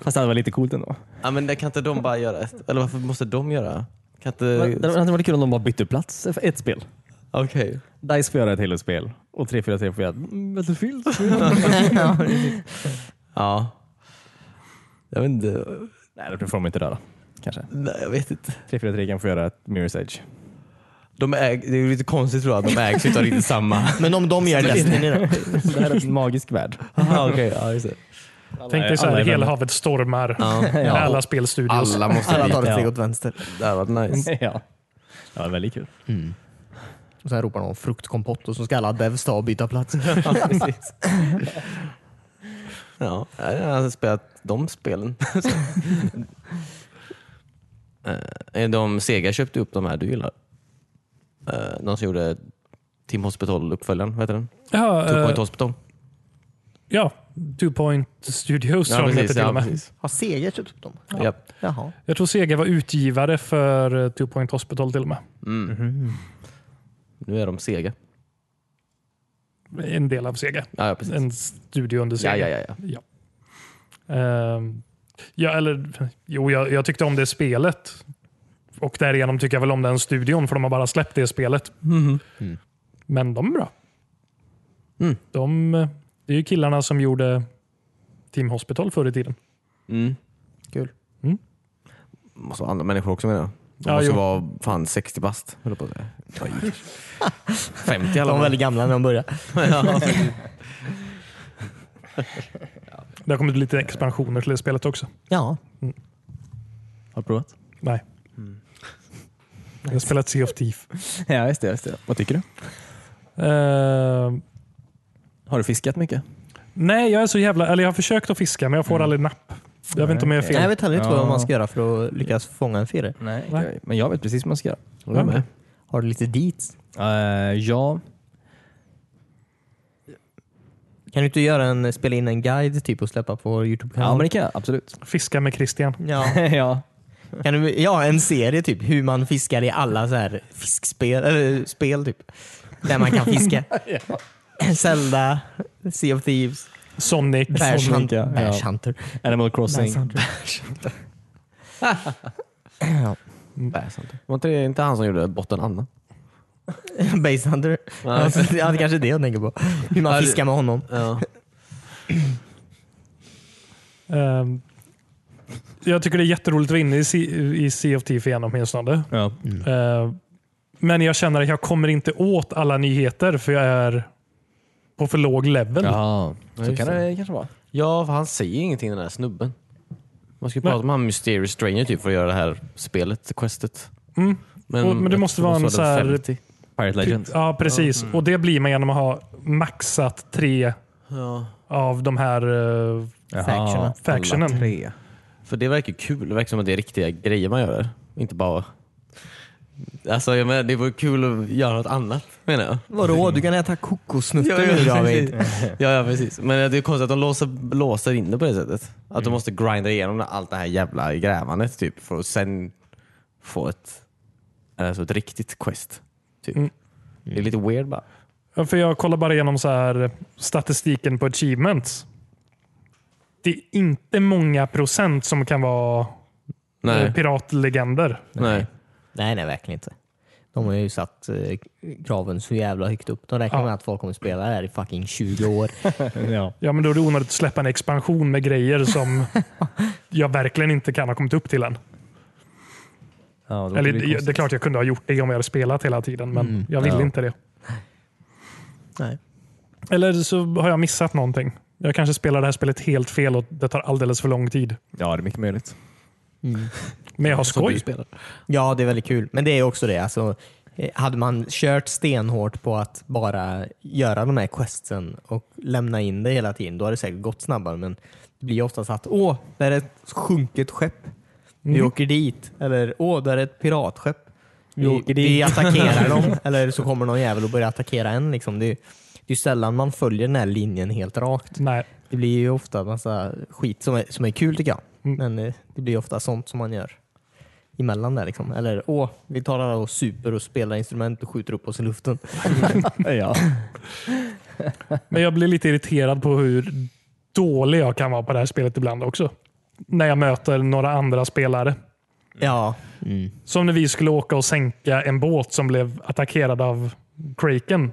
B: Fast det hade varit lite coolt ändå.
A: ja, men det kan inte de bara göra? Ett, eller varför måste de göra? Kan
B: Det
A: inte...
B: hade varit kul om de bara bytte plats för ett spel.
A: Okej.
B: Dice får göra ett Halo-spel och 343 får göra ett Battlefield.
A: Ja. Jag vet inte.
B: Nej, det får de inte röra. Kanske.
A: Nej, jag vet inte.
B: 343 kan få göra ett Mirror's Edge. *laughs*
A: De äg, det är ju lite konstigt tror jag att de ägs utav riktigt samma. *laughs*
C: Men om de gör Destiny då?
B: Det här är en magisk värld.
A: Aha, okej. Ja, just det.
D: Tänk dig så
B: alla
D: här,
B: är
D: hela
B: vänner.
D: havet stormar. Med
C: Ja.
D: alla spelstudios.
A: Alla måste
C: Alla
A: dit.
C: tar ett steg
B: Ja.
C: åt vänster.
A: Det hade varit nice.
B: *laughs* ja. ja, väldigt kul.
C: Och sen ropar någon fruktkompott och så ska alla devs ta och byta plats.
A: *laughs* Ja, jag har alltså spelat de spelen. *laughs* Eh, de Sega köpte upp de här du gillar. Eh, De som gjorde Tim Hospital-uppföljaren, vad heter den?
D: Ja,
A: Two
D: eh,
A: Point Hospital.
D: ja, Two Point Studios tror jag de heter till och med.
A: precis.
C: Har Sega köpt upp dem?
A: Japp.
C: Jaha.
D: Jag tror Sega var utgivare för eh, Two Point Hospital till och med.
A: Nu är de Sega.
D: En del av Sega.
A: Ja, ja precis.
D: En studio under
A: Ja,
D: Sega.
A: ja, ja, ja.
D: Ehm, ja, eller, jo, jag, jag tyckte om det spelet. Och därigenom tycker jag väl om den studion, för de har bara släppt det spelet. Men de är bra.
A: Mm.
D: De, eh, det är ju killarna som gjorde Team Hospital förr i tiden.
A: Mm.
C: Kul.
D: Mm.
A: Måste vara andra människor också menar jag. De
D: Ja,
A: måste
D: jo.
A: vara fan 60 bast, höll jag på att säga. Oj.
D: *laughs*
A: 50 i
C: De
A: alla
C: var
A: fall.
C: väldigt gamla när de började.
A: Ja.
D: Det har kommit lite expansioner till det spelet också.
C: Ja.
B: Har du provat?
D: Nej.
A: Mm.
D: Jag har spelat Sea of Thief.
B: Ja, just det, just det. Vad tycker du?
D: Ehm,
B: Har du fiskat mycket?
D: nej, jag är så jävla... Eller jag har försökt att fiska, men jag
B: Mm.
D: får aldrig napp. Jag vet inte om jag är
C: Nej, Jag
D: fel.
C: vet heller inte vad
B: Ja.
C: man ska göra för att lyckas fånga en fjäder.
B: Nej,
D: Nej.
B: okej. men jag vet precis vad man ska göra.
A: Håller jag med.
C: Har du lite dit?
B: Eh, ja,
C: Kan du inte göra en, spela in en guide typ och släppa på vår Youtube-kanal?
B: ja men det kan jag absolut.
D: Fiska med Christian.
B: *laughs*
C: Ja.
B: ja.
C: Kan du, ja, en serie typ. Hur man fiskar i alla så här fiskspel, eller spel typ. Där man kan fiska. Zelda, Sea of Thieves,
D: Sonic.
C: Bash,
B: Sonic,
C: Hunt,
B: ja.
C: Bash
B: Ja.
C: Hunter. *laughs*
B: Animal Crossing.
C: Ja.
A: Nej, sant. Var inte det inte han som gjorde Botten Anna?
C: Base Hunter. Ja, det är kanske det jag tänker på. Hur
A: Ja,
C: man
A: det-
C: fiskar med honom.
A: Ja.
D: Ehm, jag tycker det är jätteroligt att vara inne i, C- i Sea of Thief igen åtminstone.
B: Ja.
D: Ehm, men jag känner att jag kommer inte åt alla nyheter för jag är på för låg level.
B: Jaha, så
A: just
B: kan
A: det.
B: det kanske vara.
A: *laughs* Ja, för han säger ingenting den där snubben. Man ska ju prata
D: Nej.
A: med han Mysterious Stranger typ för att göra det här spelet, questet.
D: Mm. Och- men det
A: jag
D: måste
A: tror
D: vara
A: de
D: en
A: sa
D: så
A: det
D: här-
A: 50.
B: Pirate Legend. Mm.
D: Ja, precis. Och det blir man genom att ha maxat tre
A: Ja.
D: av de här uh,
B: Jaha.
D: factionen.
B: Tre.
A: För det verkar ju kul. Det verkar som att det är riktiga grejer man gör. Inte bara... Alltså jag menar, det vore kul att göra något annat menar jag.
C: Vadå? Du kan äta kokosnötter
A: Ja, ja,
C: nu
A: precis.
C: David.
A: Ja, ja precis. Men det är konstigt att de låser, låser in det på det sättet. Att de måste grinda igenom allt det här jävla grävandet typ för att sen få ett, alltså ett riktigt quest. Typ.
D: Mm.
A: Det är lite weird bara.
D: Ja, för jag kollar bara igenom så här, statistiken på achievements. Det är inte många procent som kan vara
A: Nej.
D: eh, piratlegender.
A: Nej.
C: Nej, nej verkligen inte. De har ju satt eh, kraven så jävla högt upp. De räknar
D: Ja.
C: med att folk kommer spela där i fucking 20 år.
B: Ja.
D: Ja, men då är det onödigt att släppa en expansion med grejer som jag verkligen inte kan ha kommit upp till än.
B: Ja, det,
D: Eller, det, är klart jag kunde ha gjort det om jag hade spelat hela tiden, men jag ville
B: Ja.
D: inte det.
C: Nej.
D: Eller så har jag missat någonting. Jag kanske spelar det här spelet helt fel och det tar alldeles för lång tid.
B: Ja, det är mycket *laughs* möjligt.
D: Men jag har
A: Som Alltså, du
D: skoj.
A: spelar.
C: Ja, det är väldigt kul. Men det är också det. Alltså, eh, hade man kört stenhårt på att bara göra de här questsen och lämna in det hela tiden, då hade det säkert gått snabbare. Men det blir oftast att åh, där är ett sjunket skepp. Vi
B: Mm.
C: åker dit. Eller åh, där är ett piratskepp. Vi,
B: åker dit.
C: vi
B: *laughs*
C: attackerar dem. Eller så kommer någon jävel och börjar attackera en. Liksom. Det, är- det är sällan man följer den här linjen helt rakt.
D: Nej.
C: Det blir ju ofta massa skit som är, som är kul tycker jag.
D: Mm.
C: Men eh, det blir ofta sånt som man gör emellan där. Liksom. Eller åh, vi tar alla och super och spelar instrument och skjuter upp oss i luften.
D: Mm.
B: ja.
D: Men jag blir lite irriterad på hur dålig jag kan vara på det här spelet ibland också. När jag möter några andra spelare.
C: Ja. Mm.
D: Som när vi skulle åka och sänka en båt som blev attackerad av Kraken.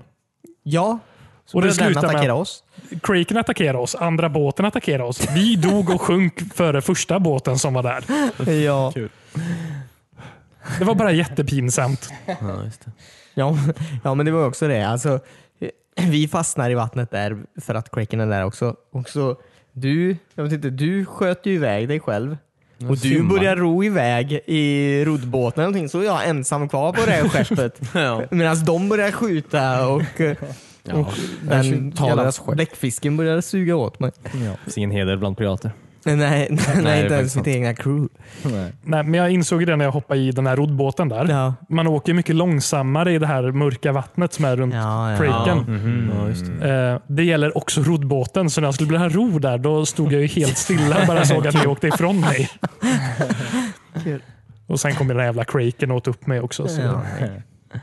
C: Ja, så
D: Och det
C: börjar den
D: slutar med-
C: attackera
D: *laughs*
C: oss.
D: Kraken attackerade oss, andra båten attackerade oss. Vi dog och sjönk före första båten som var där.
C: Ja.
D: Det var bara jättepinsamt.
A: Ja, just det.
C: Ja, *laughs* ja, men det var också det. Alltså, eh, vi fastnar i vattnet där för att Kraken är där också. Och så Du, jag vet inte, du sköt ju iväg dig själv. Och du
A: simmar.
C: börjar ro iväg i roddbåten eller någonting, så är jag ensam kvar på det
A: *laughs*
C: här skeppet.
A: Ja.
C: Medan de börjar skjuta
A: *laughs*
C: och, eh, och den
A: tar
C: jävla
A: deras skepp.
C: bläckfisken börjar suga åt mig.
B: Ja. Det finns ingen heder bland pirater.
C: Nej, nej, nej,
A: det är
C: inte
A: faktiskt
C: ens mitt egna crew.
B: Nej.
D: Nej, men jag insåg ju det när jag hoppade i den här roddbåten där.
C: Ja.
D: Man åker mycket långsammare i det här mörka vattnet som är runt
C: Ja, ja.
D: Kraken.
A: Ja, just det.
D: Eh, det gäller också roddbåten, så när jag skulle börja ro där, då stod jag ju helt stilla och bara såg att ni åkte ifrån mig.
C: Kul.
D: Och sen kom den här jävla kraken och åt upp mig också. Så.
C: Ja.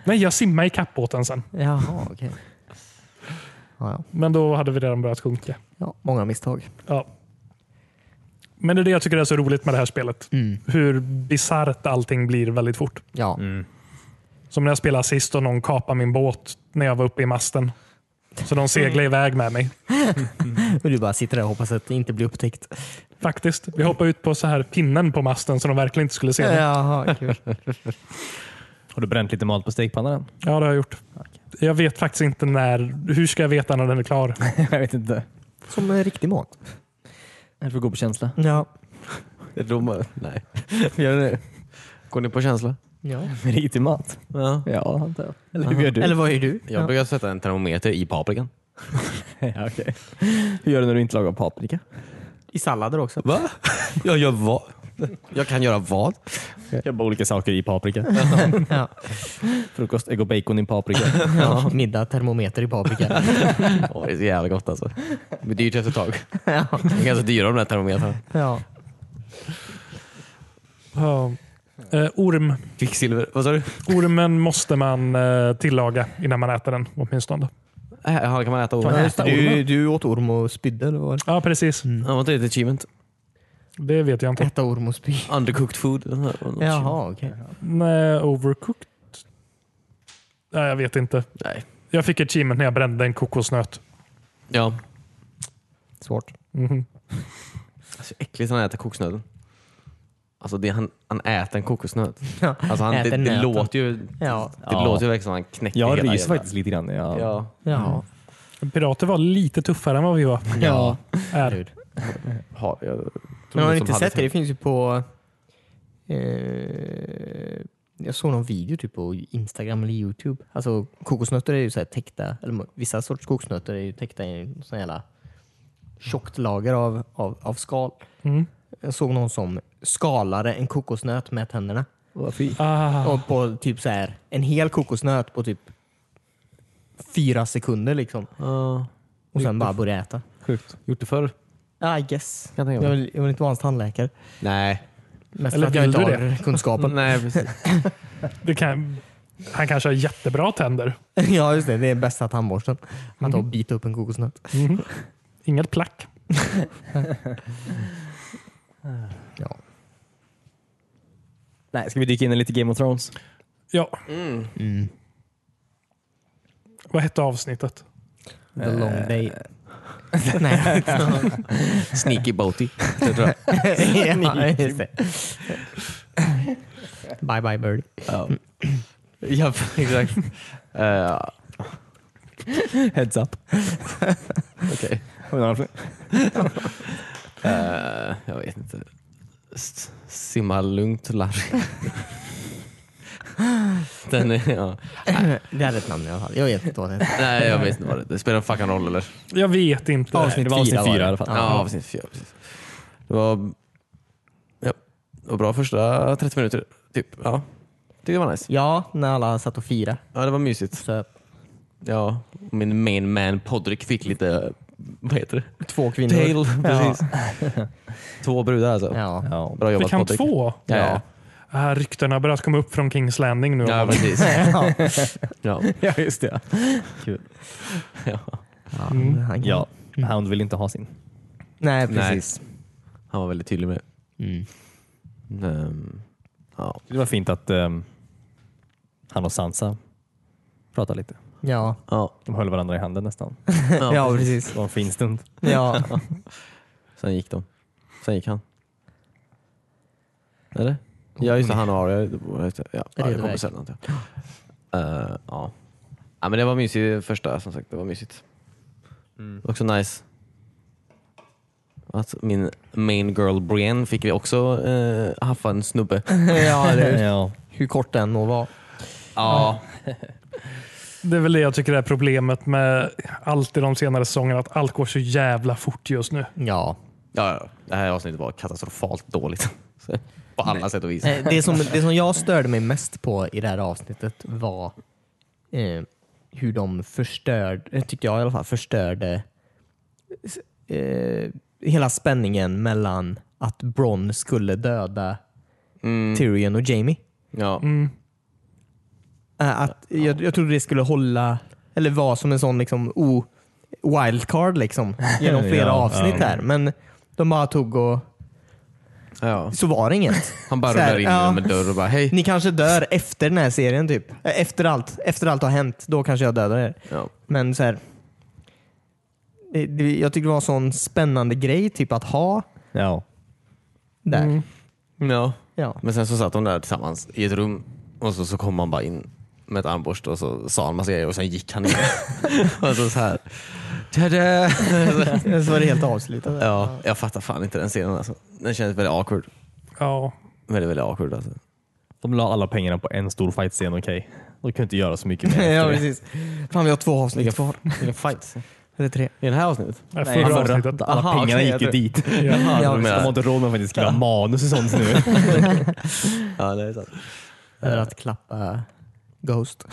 D: Nej, jag simmade i kappbåten sen,
C: Jaha, okej. Ja, ja.
D: men då hade vi redan börjat sjunka.
C: ja, många misstag.
D: Ja. Men det är det jag tycker är så roligt med det här spelet.
C: Mm.
D: Hur bisarrt allting blir väldigt fort.
C: Ja.
A: Mm.
D: Som när jag spelade sist och någon kapade min båt när jag var uppe i masten. Så de seglade iväg med mig.
C: Men du bara sitter där och hoppas att det inte blir upptäckt.
D: Faktiskt. Vi hoppade ut på så här pinnen på masten så de verkligen inte skulle se det.
C: Jaha, kul.
B: Har du bränt lite mat på stekpannan än?
D: Ja, det har jag gjort. Jag vet faktiskt inte när. Hur ska jag veta när den är klar?
B: *laughs* jag vet inte.
C: *laughs* Som en riktig mat.
B: Jag får gå på *laughs* känsla.
C: Ja.
A: Är det de- Nej. *laughs* Gör det nu. Går ni på känsla?
C: ja.
B: Riktig mat?
A: Ja.
B: Ja, antar jag. Eller hur gör du?
C: Eller vad är du?
A: Jag brukar sätta en termometer i *laughs* paprikan.
B: *laughs* ja, okej. Hur gör du när du inte lagar paprika?
C: I sallader också.
A: Va? Jag gör vad? Jag kan göra vad?
B: Jag bara olika saker i *laughs* paprika.
C: Ja.
B: Frukost, ägg och bacon i *laughs* paprika.
C: Ja. Middag, termometer i paprika.
A: Åh, det är så jävla gott alltså. Det är dyrt efter ett tag. *laughs* De är ganska dyra de där termometrarna.
C: *laughs* ja.
D: Ja. Eh, orm.
A: Kvicksilver. Vad sa du?
D: Ormen måste man eh, tillaga innan man äter den åtminstone.
A: Äh, Jaha, kan man äta orm?
D: Fan,
A: Ja,
D: äta
C: Du,
D: ormen?
C: du åt orm och spydde eller vad var det?
D: Ja, precis.
A: var inte det ett achievement?
D: Det vet jag inte.
C: Äta orm och spy.
A: Undercooked food. Den här var något achievement.
C: Jaha, okej.
D: Nej, eh, overcooked? Nej, jag vet inte.
A: Nej.
D: Jag fick ett achievement när jag brände en kokosnöt.
A: Ja.
C: Svårt.
D: Mhm.
A: Alltså, äckligt när han äter kokosnöten. Alltså det, han, han äter en kokosnöt.
C: Ja.
A: Alltså, han, det,
C: Äter
A: det
C: nöten.
A: låter ju
C: Ja.
A: Det
B: Ja.
A: låter ju verkligen som han knäcker
B: Jag
A: hela
B: ryser
A: jävla-
B: faktiskt lite grann. Jag,
A: Ja.
C: Ja.
D: Pirater var lite tuffare än vad vi var.
C: Ja. Mm.
D: Är.
A: *laughs* Har, jag, tror
C: Men har
A: det
C: ni
A: som
C: inte
A: hade-
C: sett det? Det finns ju på... Eh, jag såg någon video typ på Instagram eller Youtube. Alltså kokosnötter är ju så här täckta, eller vissa sorts kokosnötter är ju täckta i en sån jävla tjockt lager av, av, av skal.
D: Mm.
C: Jag såg någon som skalade en kokosnöt med tänderna.
B: Vad fint.
D: Ah,
C: Och på typ så här, en hel kokosnöt på typ fyra sekunder liksom.
A: Ja,
C: Och sen bara börja äta.
B: Sjukt.
A: gjort det förr.
C: I guess.
A: jag
C: Jag
A: tänka mig.
C: vill, jag vill inte vara hans tandläkare.
A: Nej.
C: Mest
D: Eller
C: för att jag
D: vill
C: inte
D: du
C: har kunskapen.
A: Nej, precis.
D: det kan, han kanske har jättebra tänder.
C: *laughs* ja just det, det är bästa tandborsten. Att då bita upp en kokosnöt.
D: Mhm. Inget plack.
C: Ja.
B: *laughs* Nej, ska vi dyka in i lite Game of Thrones?
D: Ja,
C: Mm.
D: vad hette avsnittet?
C: The long day. Eh, *laughs* Nej.
A: Sneaky boaty. Det tror *laughs* jag.
C: ja, just det. bye bye birdie. Mm.
A: Ja. ja, exakt. Eh,
B: Heads up.
A: Okej.
B: Har vi några fler?
A: Eh, jag vet inte. S- Simma lugnt Larry. Den är, ja.
C: *laughs* Det hade ett namn i alla fall. Jag vet inte vad det heter.
A: Nej, jag vet inte vad det Det spelar en fucking roll eller?
D: Jag vet inte.
B: det var avsnitt
C: var
B: fyra
C: det.
B: i alla fall.
A: Ja, avsnitt fyra. Precis. Det var, ja, det var bra första 30 minuter. Typ. Ja. Tyckte det var nice.
C: Ja, när alla satt och firade.
A: Ja, det var mysigt.
C: Så
A: Ja, och min main man Podrick fick lite, vad heter det?
C: två kvinnor.
A: Tail, *laughs* precis. Två brudar alltså.
C: Ja.
B: Ja.
A: Bra jobbat
D: Fick han
A: Podrick.
D: två?
A: Ja, ja.
D: Ah, ryktena har börjat komma upp från Kings Landing nu.
A: ja precis. *laughs* ja.
B: *laughs* ja, just det. Kul.
A: Ja.
C: *laughs* Ja,
D: Mm.
C: han kan-
B: Ja, Hound vill inte ha sin.
C: Nej,
A: Nej.
C: precis.
A: Han var väldigt tydlig med
C: Mm.
A: det. Ehm, ja.
B: Det var fint att ehm, han och Sansa pratade lite.
C: Ja.
A: Ja.
B: De höll varandra i handen nästan.
A: Ja.
C: ja, precis.
B: Det var en fin *laughs* stund.
C: Ja.
A: Sen gick de. Sen gick han. Eller? Ja just det, han och Aria. Ja, just det. Ja, Aria
C: Redo
A: kommer
C: väg.
A: sen. antar jag. Eh, ja. ja men det var Mm. mysigt första som sagt. Det var mysigt. Också nice. Att min main girl Brienne fick vi också eh, haffa en snubbe.
C: ja, det är,
B: Ja.
C: hur kort den må vara.
A: Ja,
D: Det är väl det jag tycker är problemet med allt i de senare säsongerna, att allt går så jävla fort just nu.
C: Ja.
A: ja, ja. Det här avsnittet var katastrofalt dåligt. *laughs* Så, På alla sätt och vis.
C: Eh, Det som, det som jag störde mig mest på i det här avsnittet var eh, hur de förstörde, eh, tyckte jag i alla fall, förstörde eh, hela spänningen mellan att Bronn skulle döda
B: Mm.
C: Tyrion och Jamie.
A: Ja.
C: Eh, Att jag, jag trodde det skulle hålla, eller vara som en sån liksom o wildcard liksom,
B: *laughs*
C: genom flera
B: Ja,
C: avsnitt
B: ja.
C: här. Men de bara tog och
A: Ja.
C: så var det inget.
A: Han bara
C: Så här,
A: rullar in
C: ja.
A: genom en dörr och bara hej.
C: Ni kanske dör efter den här serien typ. Eh, Efter allt, efter allt har hänt, då kanske jag dödar er.
A: Ja.
C: Men så här, det, det, jag tyckte det var en sån spännande grej typ att ha
B: Ja.
C: där.
A: Ja.
C: Ja.
A: Men sen så satt de där tillsammans i ett rum och så, så kom han bara in med ett armborst och så sa han massa grejer och sen gick *laughs* han in. och så, så här. Tada! *laughs*
C: Så var det helt avslutat.
A: Ja, jag fattar fan inte den scenen alltså. Den kändes väldigt awkward.
D: Ja,
A: Väldigt, väldigt awkward alltså.
B: De la alla pengarna på en stor fightscen, okej. De kunde inte göra så mycket *laughs* mer.
C: *laughs* ja
B: efter det.
C: precis. Fan vi har två avsnitt
A: Vilken,
C: kvar.
A: vilken fight.
C: Eller tre.
A: I det här avsnittet?
D: Nej,
C: Nej,
D: förra
B: Förra,
D: avsnittet.
B: alla
A: Aha,
B: pengarna
A: okej,
B: gick ju
A: jag tror-
B: dit.
D: Ja.
A: Ja, du
B: *laughs*
C: Ja,
B: De har
A: menar.
B: inte råd med att faktiskt skriva manus och sånt *laughs* nu.
A: ja, det är sant. *laughs*
C: Eller att klappa Ghost.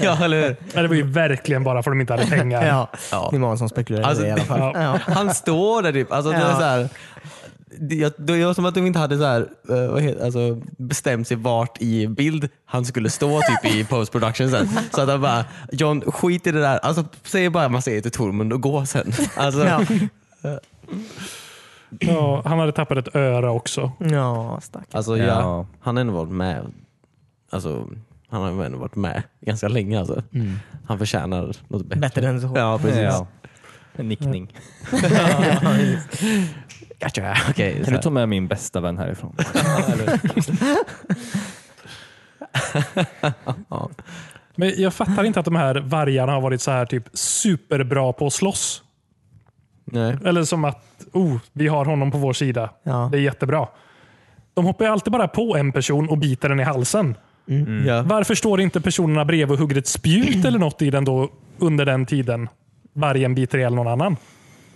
A: ja, eller hur?
D: Nej, Det var ju verkligen bara för att de inte hade
C: *laughs*
D: pengar.
C: Ja.
A: Ja.
C: Det är många som spekulerar
A: Alltså,
C: i det i alla fall.
D: ja.
C: *laughs* Ja.
A: Han står där typ. Alltså, det, är
C: Ja.
A: så här, det, jag, det var som att de inte hade så här, eh, vad heter, alltså, bestämt sig vart i bild han skulle stå typ
C: *laughs*
A: i post production sen. Så att han bara, John skit i det där. Alltså, säg bara man säger till Tormund och gå sen. Alltså,
C: Ja.
D: Ja, han hade tappat ett öra också.
C: ja, stack.
A: alltså ja.
B: Ja.
A: han har ändå varit med. Alltså, han har ändå varit med ganska länge. Alltså. Han förtjänar något bättre.
C: Mm. Bättre än så.
A: Ja, precis.
B: Ja. En nickning.
A: Gotcha. Okej, så
B: Kan du
A: här.
B: ta med min bästa vän härifrån?
D: Men jag fattar inte att de här vargarna har varit så här typ superbra på att slåss.
A: Nej.
D: Eller som att, oh, vi har honom på vår sida.
C: Ja.
D: Det är jättebra. De hoppar ju alltid bara på en person och biter den i halsen.
C: Mm.
A: Ja.
D: Varför står inte personerna bredvid och hugger ett spjut eller något i den då under den tiden vargen biter ihjäl någon annan?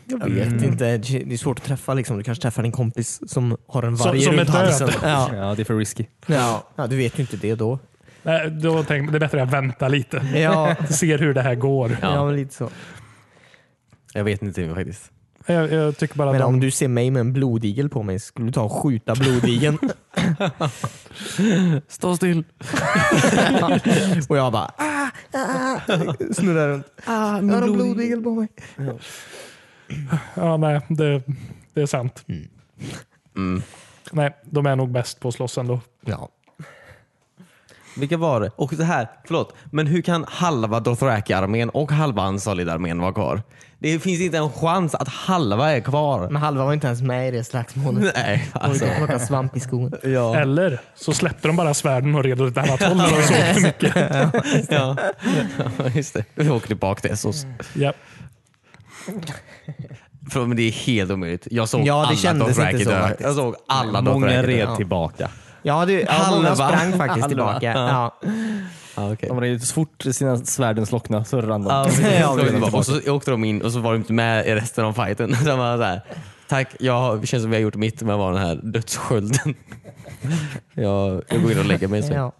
C: Jag vet inte. Det är svårt att träffa. Liksom. Du kanske träffar en kompis som har en
D: Som-
C: varg
D: som
C: runt
D: är död.
C: halsen. *laughs* Ja.
B: Ja, det är för risky.
C: Ja. ja, du vet ju inte det då.
D: Nej, Äh, då tänker man, det är bättre att vänta lite.
C: *laughs* Ja,
D: Ser hur det här går.
A: Ja.
C: ja. men lite så.
A: Jag vet inte faktiskt.
D: Jag, jag tycker bara att
C: Men
D: de,
C: om du ser mig med en blodigel på mig, skulle du ta och skjuta *laughs* blodigeln?
A: Stå still.
C: *laughs* och jag bara ah, ah, snurrar runt.
A: Ah,
C: Jag har en blodigel på mig.
D: ja, nej, det, det är sant.
C: Mm.
A: Mm.
D: Nej, de är nog bäst på att slåss ändå.
C: Ja.
A: Vilka var det? Och så här, förlåt, men hur kan halva Dothraki-armén och halva Ansalid-armén vara kvar? Det finns inte en chans att halva är kvar.
C: Men halva var inte ens med i det slagsmålet.
A: *laughs* Nej, alltså.
C: Alltså. Plocka svamp i skogen.
A: Ja,
D: Eller så släppte de bara svärden och red åt ett annat håll när de såg
A: *laughs*
D: för mycket.
A: *laughs* ja. ja just det. Vi åker tillbaka till Essos.
C: Mm.
D: Ja.
A: För, men det är helt omöjligt. Jag såg
C: Ja, det
A: alla
C: kändes inte
A: Dothraki
C: så
A: dö.
C: faktiskt.
A: Jag såg alla
B: Många
A: Dothraki dö.
B: red tillbaka.
C: Ja, det, ja många
A: Halva.
C: sprang faktiskt
A: Halva.
C: tillbaka. Ja.
A: Ja, okej. *laughs*
B: De red så fort sina svärden slocknade *laughs* så rann de.
A: Ja, precis.
C: Ja,
A: Så
C: precis.
A: tillbaka. och så åkte de in och så var de inte med i resten av fighten. *laughs* Så de var så här, Tack, jag har, det känns som vi har gjort mitt med att vara den här *laughs* dödsskölden. Jag, jag går in och lägger mig. Så.
C: Ja.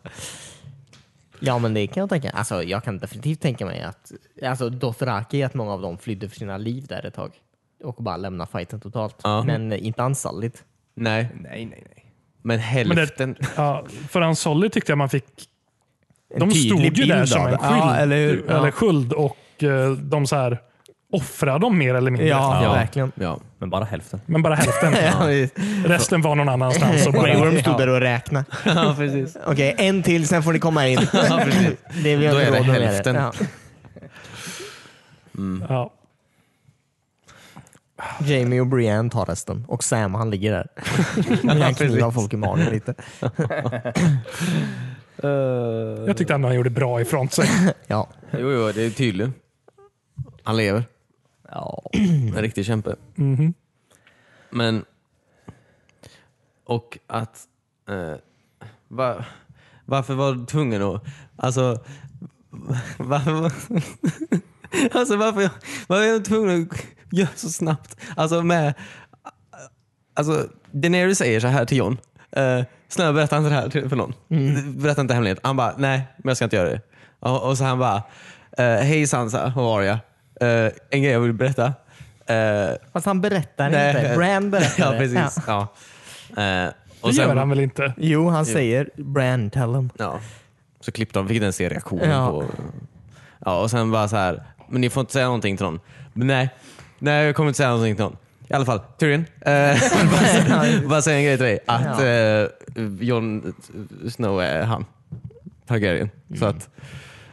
C: ja, men det kan jag tänka. Alltså, jag kan definitivt tänka mig att alltså, Dothraki, att många av dem flydde för sina liv där ett tag och bara lämnade fighten totalt.
A: Ja. Mm.
C: Men inte ansalligt.
A: Nej,
B: Nej, nej, nej.
A: men hälften.
D: Ja, för Ansolli tyckte jag man fick... De stod
C: tydlig
D: ju där
C: bild
D: som
C: av
D: en
C: det.
D: skyld.
C: Ja, eller hur? Ja.
D: eller skyld och eh, de så här offrade dem mer eller mindre.
C: Ja, verkligen.
A: Ja.
B: Men bara hälften.
D: Men
C: *laughs*
D: bara hälften. Resten var någon annanstans. Och bara,
C: Grayworm stod där och räknade.
A: ja, precis.
C: Okej, en till, sen får ni komma in.
A: *laughs* Ja, precis.
C: Det är vi
A: Då är det
C: råd med
A: hälften.
C: Ja.
D: ja.
C: Jamie och Brienne tar resten och Sam han
A: *laughs*
C: ligger där. Han knivar folk i magen lite.
D: Jag tyckte ändå han gjorde bra ifrån sig.
C: Ja.
A: Jo, jo, det är tydligt. Han lever.
C: Ja.
A: En riktig kämpe. Men... Och att... Eh, va- varför var du tvungen att... Alltså... *laughs* Varför, *laughs* alltså varför, varför är du tvungen att göra så snabbt? Alltså med... Alltså, Daenerys säger så här till Jon. Eh, snälla berätta inte det här till- för någon. Berätta inte hemlighet. Han bara, nej, men jag ska inte göra det. Och, och så han bara, eh, hej Sansa och Arya. Eh, en grej jag vill berätta. Eh,
C: Fast han berättar
A: Nej.
C: inte. Bran
A: *laughs*
C: berättar
A: ja,
C: det.
A: precis.
C: Ja.
A: Ja. Eh,
D: Det
A: och sen,
D: gör han väl inte?
C: Jo, han säger Bran, tell him.
A: Ja. Så klippte de, fick den se reaktionen
C: Ja.
A: på... Ja, och sen bara så här. men ni får inte säga någonting till någon. Men nej, nej jag kommer inte säga någonting till någon. I alla fall, Tyrion. Eh, *laughs* bara, bara säga en grej till dig. Att
C: Ja.
A: eh, Jon Snow är han. Targaryen. Så att,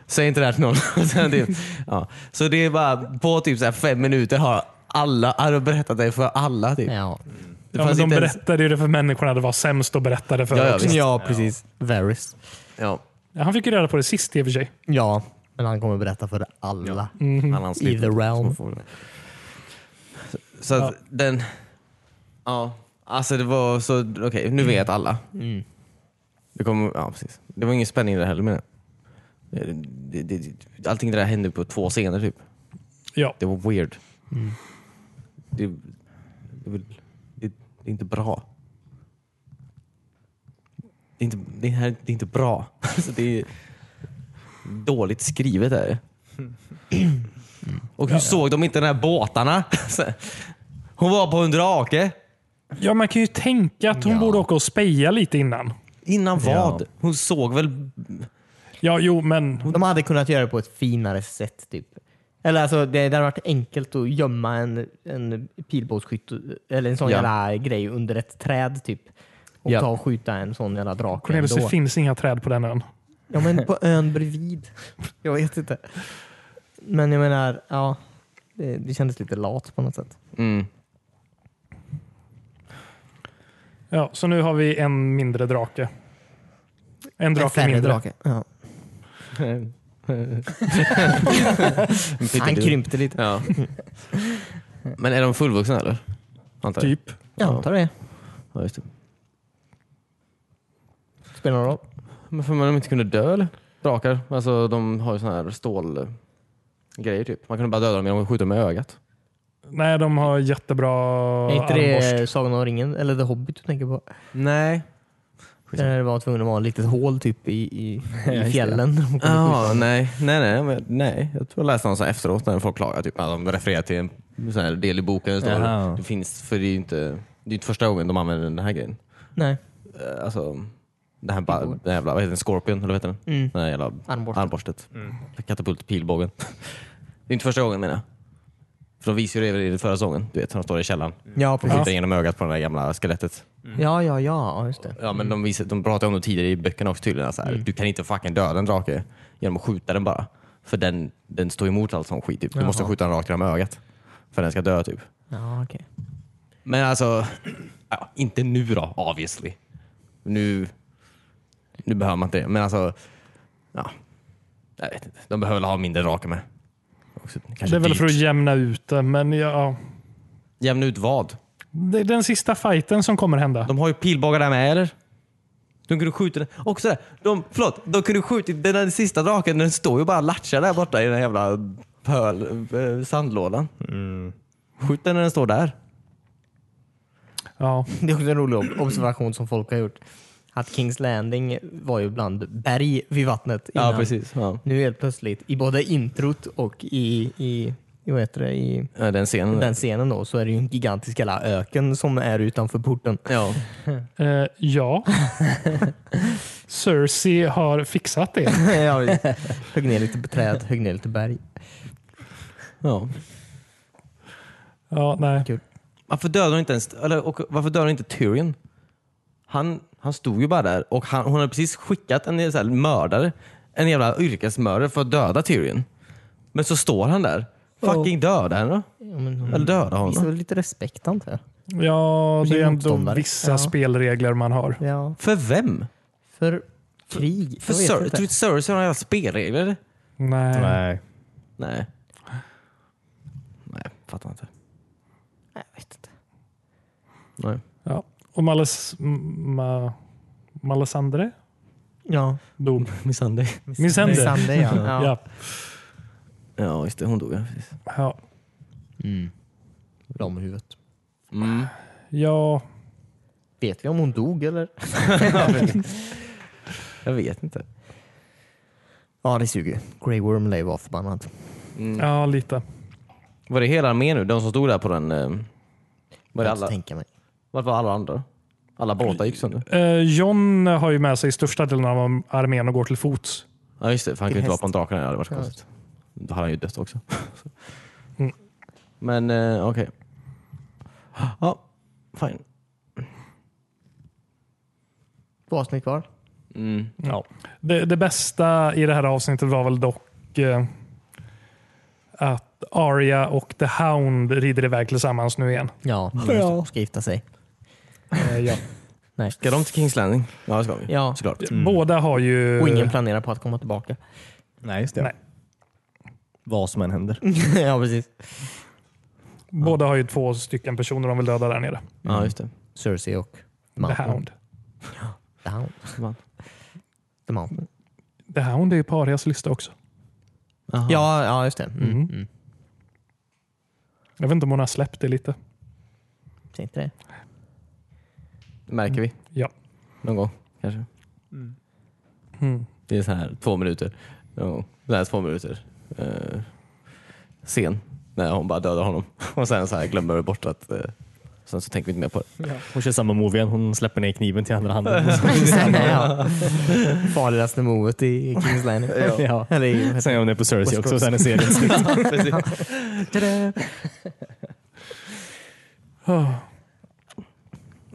A: säg inte det här till någon. *laughs* Och sen typ, ja. Så det är bara, på typ så här fem minuter har alla, har de berättat det för alla. Typ.
C: Ja.
A: Det
D: Ja, men
A: fanns
D: de
A: inte ens-
D: berättade ju det för människorna det var sämst att berätta det för.
A: Ja, ja,
D: också.
A: visst.
C: ja, precis. Varys.
A: ja,
D: Han fick ju reda på det sist i och för sig.
C: Ja, men han kommer berätta för alla.
A: alla hans
C: I
A: liv.
C: the realm.
A: Så att den... Ja. Alltså det var så... Okej, nu vet alla. Det, kom, ja, precis. det var ingen spänning i det heller menar jag. Det- det- det- Allting det där hände på två scener typ.
D: Ja.
A: Det var weird. Det, det, är väl- det, det är inte bra. Det är inte, det här, det är inte bra. *laughs* Alltså det är dåligt skrivet är det. Och hur såg de inte de här båtarna? *laughs* Hon var på en drake.
D: ja, man kan ju tänka att hon borde åka och speja lite innan.
A: Innan vad? Hon såg väl...
D: Ja, jo, men
C: De hade kunnat göra det på ett finare sätt. Typ. Eller alltså, det, det hade varit enkelt att gömma en, en pilbågsskytt eller en sån
A: Ja.
C: jävla grej under ett träd typ. Och
A: Ja.
C: ta och skjuta en sån jävla drake
D: Cornelius,
C: ändå.
D: det finns inga träd på den ön.
C: Ja men på ön bredvid. Jag vet inte. Men jag menar, ja. Det, det kändes lite lat på något sätt.
A: Mm.
D: Ja, så nu har vi en mindre drake. En
C: En
D: drake
C: färre
D: mindre.
C: drake. Ja. Han krympte lite.
A: Ja. Men är de fullvuxna eller? Antar jag.
D: Typ.
C: Jag antar det.
A: Ja, just det.
C: Spelar någon roll?
A: Men för man de inte kunde dö eller? Drakar. Alltså de har ju såna här stålgrejer typ. Man kunde bara döda dem genom att skjuta dem med ögat.
D: Nej, de har jättebra
C: är inte
D: armborst.
C: det Sagan om ringen eller The Hobbit du tänker på?
A: Nej.
C: Där det var tvungen att vara ett litet hål typ i, *laughs* i, i fjällen.
A: Ja, nej. Nej, nej, men, nej. Jag tror jag läste någon så här efteråt när folk klagade. Typ, att de refererar till en sån här del i boken. Det,
B: Jaha.
A: står, det finns, för det är ju inte, det är inte första gången de använder den här grejen.
C: *laughs* Nej.
A: Eh, Alltså, det här, ba- den här jävla, vad heter den? Scorpion, eller vad heter den?
C: Mm.
A: Den här jävla
C: Armborstet.
A: armborstet. Katapult, pilbågen. *laughs* Det är inte första gången menar jag. För de visar ju det i den förra säsongen. Du vet, när de står i källaren.
C: Ja,
A: De
C: precis.
A: sitter genom ögat på det där gamla skelettet.
C: Ja, ja, ja, ja, just det.
A: Ja, men de, visar, de pratar om det tidigare i böckerna också tydligen. Så här,
D: Mm.
A: Du kan inte fucking döda en drake genom att skjuta den bara. För den, den står emot allt sånt skit. Typ. Du måste
C: Jaha.
A: skjuta den rakt genom ögat. För den ska dö typ.
C: Ja, okej.
A: Men alltså, ja, inte nu då obviously. Nu, nu behöver man inte det. Men alltså, ja, jag vet inte. De behöver väl ha mindre drake med. Också, kanske
D: Det är väl
A: dyrt.
D: för att jämna ut det, men ja.
A: Jämna ut vad?
D: Det är den sista fighten som kommer hända.
A: De har ju pilbågar där med eller? De kunde skjuta den. Också där, de, förlåt, de kunde skjutit den där sista draken. Den står ju bara och latchar där borta i den här jävla pöl, eh, sandlådan. Mm. Skjut den när den står där.
D: Ja.
C: Det är också en rolig ob- observation som folk har gjort. Att Kings Landing var ju bland berg vid vattnet innan.
A: precis. Ja.
C: Nu helt plötsligt, i både introt och i, i, i, vad heter det, i
A: Ja, Den scenen. där.
C: den scenen då, så är det ju en gigantisk jävla öken som är utanför *laughs* porten.
A: Ja.
D: Eh,
C: *laughs*
D: ja. Cersei har fixat det.
C: Ja, visst. *laughs* högg ner lite träd, högg ner lite berg.
A: ja.
D: Ja, nej.
A: Varför dödar hon inte ens, eller, och, varför dödar hon inte Tyrion? Han, han stod ju bara där och han, hon hade precis skickat en så här, mördare, en jävla yrkesmördare för att döda Tyrion. Men så står han där. Fucking döda henne då.
C: Ja, men hon
A: Eller döda
C: visar
A: honom.
C: väl lite respekt antar jag.
D: Ja,
C: Sin
D: det är ändå
C: motståndare.
D: vissa
C: Ja.
D: spelregler man har.
C: Ja,
A: För vem?
C: för krig.
A: För
C: jag vet
A: Cersei
C: inte.
A: tror du att Cersei har några jävla spelregler?
D: Nej.
B: Nej.
A: Nej.
C: *laughs*
A: Nej, fattar inte.
C: Nej, Jag vet inte. Nej.
D: Ja. Och Malas, M- Ma, Malasandre
C: Ja.
D: dog.
B: Misshandel.
D: Missander.
C: Sunday, ja. ja.
D: Ja.
A: Ja, just det. Hon dog. ja, precis.
D: Ja.
C: Mm. Ramhuvudet.
A: Mm.
D: ja,
C: Vet vi om hon dog eller?
A: Jag vet inte.
C: Ja, det suger. Grey Worm lär ju vara förbannad.
A: Mm.
D: ja, lite.
A: Var det hela armén nu? De som stod där på den... eh, Var det
C: Jag kan inte
A: alla,
C: tänka mig.
A: vart var alla andra? Alla båtar gick sönder.
D: Eh, John har ju med sig största delen av armén och går till fots.
A: Ja just det, för han
C: Till
A: kunde inte vara
C: häst.
A: på en drake. Det hade varit
C: Ja.
A: konstigt. Då hade han ju dött också. *laughs*
D: Mm.
A: Men eh, okej. Ja, fine.
C: Två avsnitt kvar.
A: Mm.
D: Ja. Det, det bästa i det här avsnittet var väl dock eh, att Arya och The Hound rider iväg tillsammans nu igen.
C: Ja, hon ska gifta sig.
D: Eh, ja.
C: *laughs* Nej.
A: Ska de till Kings Landing? Ja det ska vi.
C: Ja.
A: Såklart.
D: Mm. Båda har ju...
C: Och ingen planerar på att komma tillbaka. *laughs*
B: Nej, just det.
D: Nej.
B: Vad som än händer.
C: ja, precis.
D: Båda har ju två stycken personer de vill döda där nere.
A: Ja just det.
C: Cersei och The
D: The Hound.
C: The Hound. The Mountain.
D: The Hound är ju på Arias lista också.
A: Aha.
C: Ja, ja, just det. Mm.
D: Mm.
C: Mm.
D: Jag vet inte om hon har släppt det lite.
C: Säg inte det.
A: Det märker vi.
D: Ja.
A: Någon gång kanske.
D: Mm.
A: Det är så här två minuter. Någon gång. Det här är två minuter. Eh, sen. När hon bara dödar honom. *laughs* Och sen så här glömmer vi bort att... eh, sen så tänker vi inte mer på det.
B: Hon kör samma move igen. Hon släpper ner kniven till andra handen. *laughs*
C: ja. *laughs* Farligaste movet i Kings Landing.
B: ja.
C: Eller i-
B: Sen är hon är på Cersei
C: Westeros.
B: också. Sen är serien slut.
D: Ah.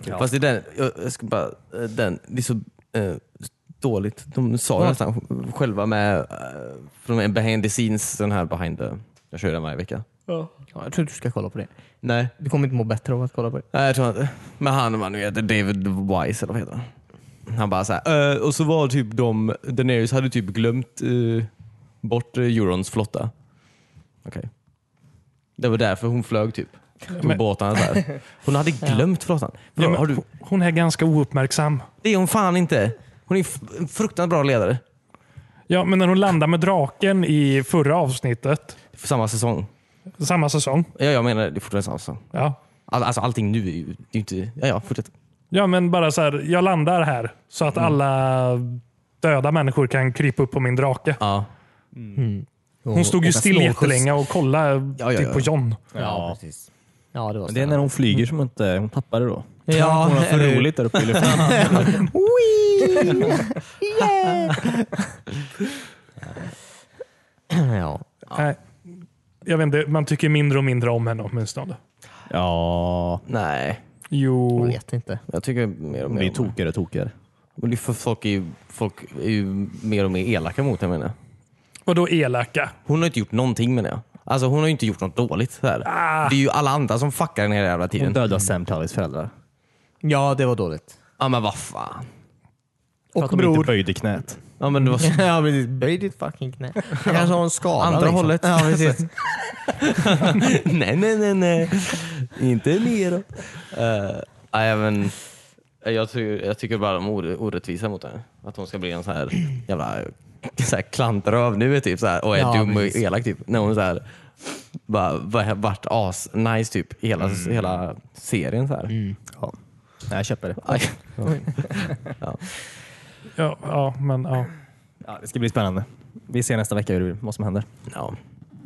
B: Ja.
A: Fast det är den, jag, jag ska bara, eh, den, det är så eh, dåligt. De sa ju nästan sj- själva med, eh, från en behind the scenes, den här behind the, jag kör den varje vecka.
C: Ja, jag tror inte du ska kolla på det.
A: Nej,
C: Du kommer inte må bättre av att kolla på det.
A: nej jag tror inte. Men han, man, nu heter David Wise eller vad heter han? Han bara såhär, eh, och så var typ de, Daenerys hade typ glömt eh, bort eh, Eurons flotta. Okej. Det var därför hon flög typ. Tog
D: Men-
A: båtarna där. Hon
D: *laughs*
A: hade glömt flottan.
D: Ja, men
A: har du,
D: Hon är ganska ouppmärksam.
A: det är hon fan inte. Hon är f- en fruktansvärt bra ledare.
D: Ja, men när hon landar med draken i förra avsnittet,
A: För samma säsong.
D: samma säsong.
A: Ja, jag menar det. Det är fortfarande samma säsong.
D: Ja.
A: All, alltså allting nu är ju det är ju inte... Ja, ja, fortsätt.
D: ja, men bara så här, jag landar här så att
C: Mm.
D: alla döda människor kan krypa upp på min drake.
A: Ja.
C: Och-
D: Hon stod ju
C: och
D: still
C: slår skjuts.
D: jättelänge och kollade
A: Ja, ja,
D: typ
A: ja.
D: på John.
C: Ja, precis. Ja, det var
B: *laughs* Det är när hon flyger som inte, hon tappar det då.
C: Ja,
B: hon har för
C: eller hur?
B: roligt där uppe i *laughs* luften.
C: *laughs* ja.
D: Nej. Jag vet inte, man tycker mindre och mindre om henne åtminstone.
B: Ja,
A: Nej,
D: Jo,
C: Jag vet inte.
A: jag tycker mer och
B: hon
A: mer...
B: blir
A: om det.
B: tokigare och tokigare.
A: Men det är för folk, är ju, folk är ju mer och mer elaka mot henne menar jag.
D: och då elaka.
A: Hon har ju inte gjort någonting menar jag. Alltså hon har ju inte gjort något dåligt. Så här.
C: Ah.
A: Det är ju alla andra som fuckar den hela jävla
B: Hon
A: tiden.
B: dödar Sam Tallys föräldrar.
C: Ja, det var dåligt.
A: Ja men vad fan.
B: För
C: Och
B: att de inte
C: bror.
B: böjde knät.
A: Ja men det var... så-
C: *laughs*
A: *laughs*
C: Ja, precis. Böj ditt fucking knä. *laughs* Jag kanske har en skada.
A: Andra
C: liksom.
A: hållet.
C: Ja, *laughs* precis.
A: nej, nej, nej, nej. inte neråt. Uh, även, jag, tycker, jag tycker bara de är or- orättvisa mot henne. Att hon ska bli en sån här jävla så här klantröv nu är typ så här, och är
C: Ja,
A: dum och
C: precis.
A: elak. Typ, när hon så här, bara, bara vart as-nice typ hela,
C: Mm.
A: hela serien. Så här.
B: Ja. Nej, jag köper det.
A: Aj.
D: Ja, ja men ja.
B: Ja, det ska bli spännande. Vi ser nästa vecka hur det blir, vad som händer.
A: Ja.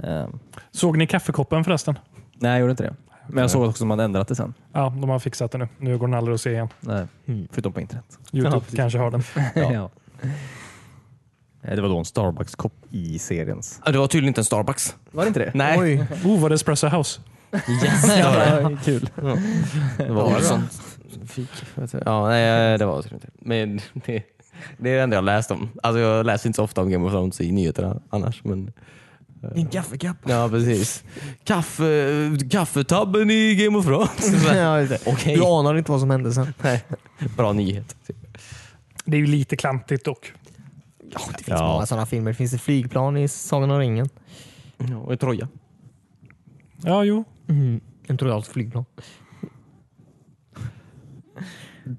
B: Ehm,
D: Såg ni kaffekoppen förresten?
B: nej, jag gjorde inte det. Men jag såg också att de hade ändrat det sen.
D: Ja, de har fixat det nu. Nu går den aldrig att se igen.
B: Nej, Förutom på *laughs* internet.
D: Youtube kanske har den.
B: Mm. Ja. Nej, Det var då en Starbucks-kopp i seriens.
A: Ja, Det var tydligen inte en Starbucks.
B: Var det inte det?
A: Nej,
C: Oj.
D: Oh, var det Espresso House?
B: Ja, kul.
A: det var Olsson. Fik. vet du. Ja, nej, eh, det var det inte. Men det, det är det enda jag läst om. Alltså, jag läser inte så ofta om Game of Thrones i nyheterna annars. Men eh,
C: Din kaffekapp.
A: Ja, precis. Kaffe, kaffetabben i Game of *laughs* Thrones.
C: Ja, just det.
A: Okej.
C: Du anar inte vad som hände sen.
A: Nej, Bra nyhet. Typ.
D: Det är ju lite klantigt dock.
C: Ja, det finns
B: Ja.
C: många sådana filmer. Finns det flygplan i Sagan om ringen?
A: Ja, och i Troja.
D: Ja, jo.
C: Mm. En trojansk flygplan.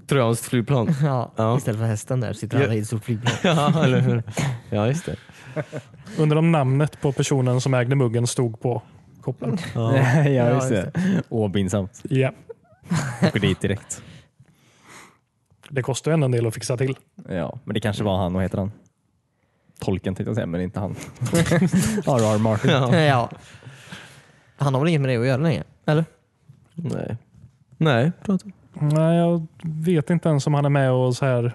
A: Trojanskt flygplan.
C: *laughs* Ja,
A: Ja.
C: Istället för hästen där sitter han
A: Ja.
C: i ett stort flygplan.
A: *laughs* ja, eller hur? Ja, just det.
D: Undrar om namnet på personen som ägde muggen stod på koppen.
C: *laughs*
B: *laughs* ja, just
C: just
B: det. Åh, pinsamt.
D: Ja,
B: Åker dit direkt.
D: det kostar ju ändå en del att fixa till.
B: Ja, men det kanske var han. Vad heter han? Tolken tänkte jag säga, men inte *laughs* han. R.R. Martin.
C: *laughs* Ja. Han har väl inget med det att göra längre? Eller?
A: Nej. Nej, tror inte.
D: Nej, jag vet inte ens om han är med och så här.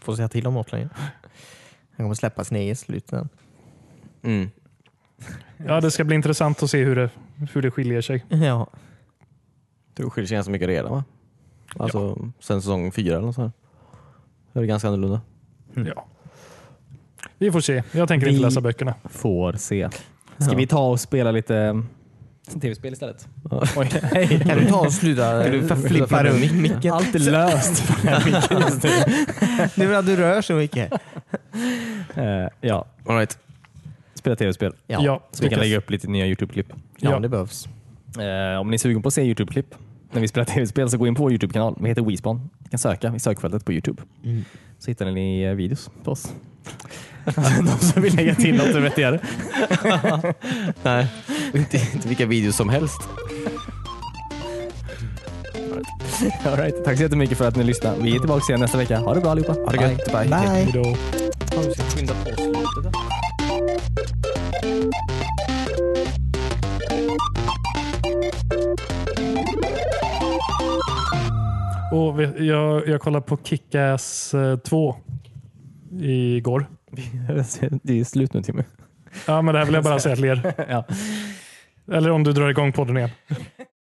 C: Får säga till om något längre. Han kommer släppa sin egen slut sen.
A: Mm.
D: Ja, det ska bli intressant att se hur det, hur det skiljer sig.
C: Ja.
A: Det skiljer sig ganska mycket redan va? Alltså sen säsong fyra eller något sånt. här. Det är ganska annorlunda.
D: Ja. Vi får se. Jag tänker inte
B: Vi-
D: läsa böckerna.
B: Får se. Ska
A: Ja.
B: vi ta och spela lite eh, tv-spel istället?
A: Ja.
B: Oj, *laughs* hej.
C: Kan du ta och
A: *laughs*
C: sluta
A: Kan du
C: flippa
A: flippa
C: runt micken?
B: Allt är löst.
C: Nu menar du rör så mycket.
B: Eh, ja,
A: All right.
B: spela tv-spel.
C: Ja,
D: Ja,
B: Så vi kan
D: lyckas.
B: lägga upp lite nya Youtube-klipp.
C: ja.
D: Ja.
C: det behövs.
B: Eh, om ni är sugen på att se Youtube-klipp när vi spelar tv-spel så gå in på vår Youtube-kanal. Vi heter WeSpawn. Ni kan söka i sökfältet på Youtube. Så hittar ni eh, videos på oss. De som vill lägga *laughs* till något vettigare.
A: Nej, *laughs* inte, inte vilka videos som helst.
B: All right. Tack så jättemycket för att ni lyssnade. Vi är tillbaka igen nästa vecka. Ha det bra allihopa.
A: Ha det
B: *laughs*
A: gött. Bye.
C: Bye.
D: Hej då. Och vi- jag, jag kollade på Kick-Ass eh, 2 igår.
B: Det är slut nu Timmy.
D: Ja, men det här vill jag bara säga till er.
B: Ja.
D: Eller om du drar igång podden igen.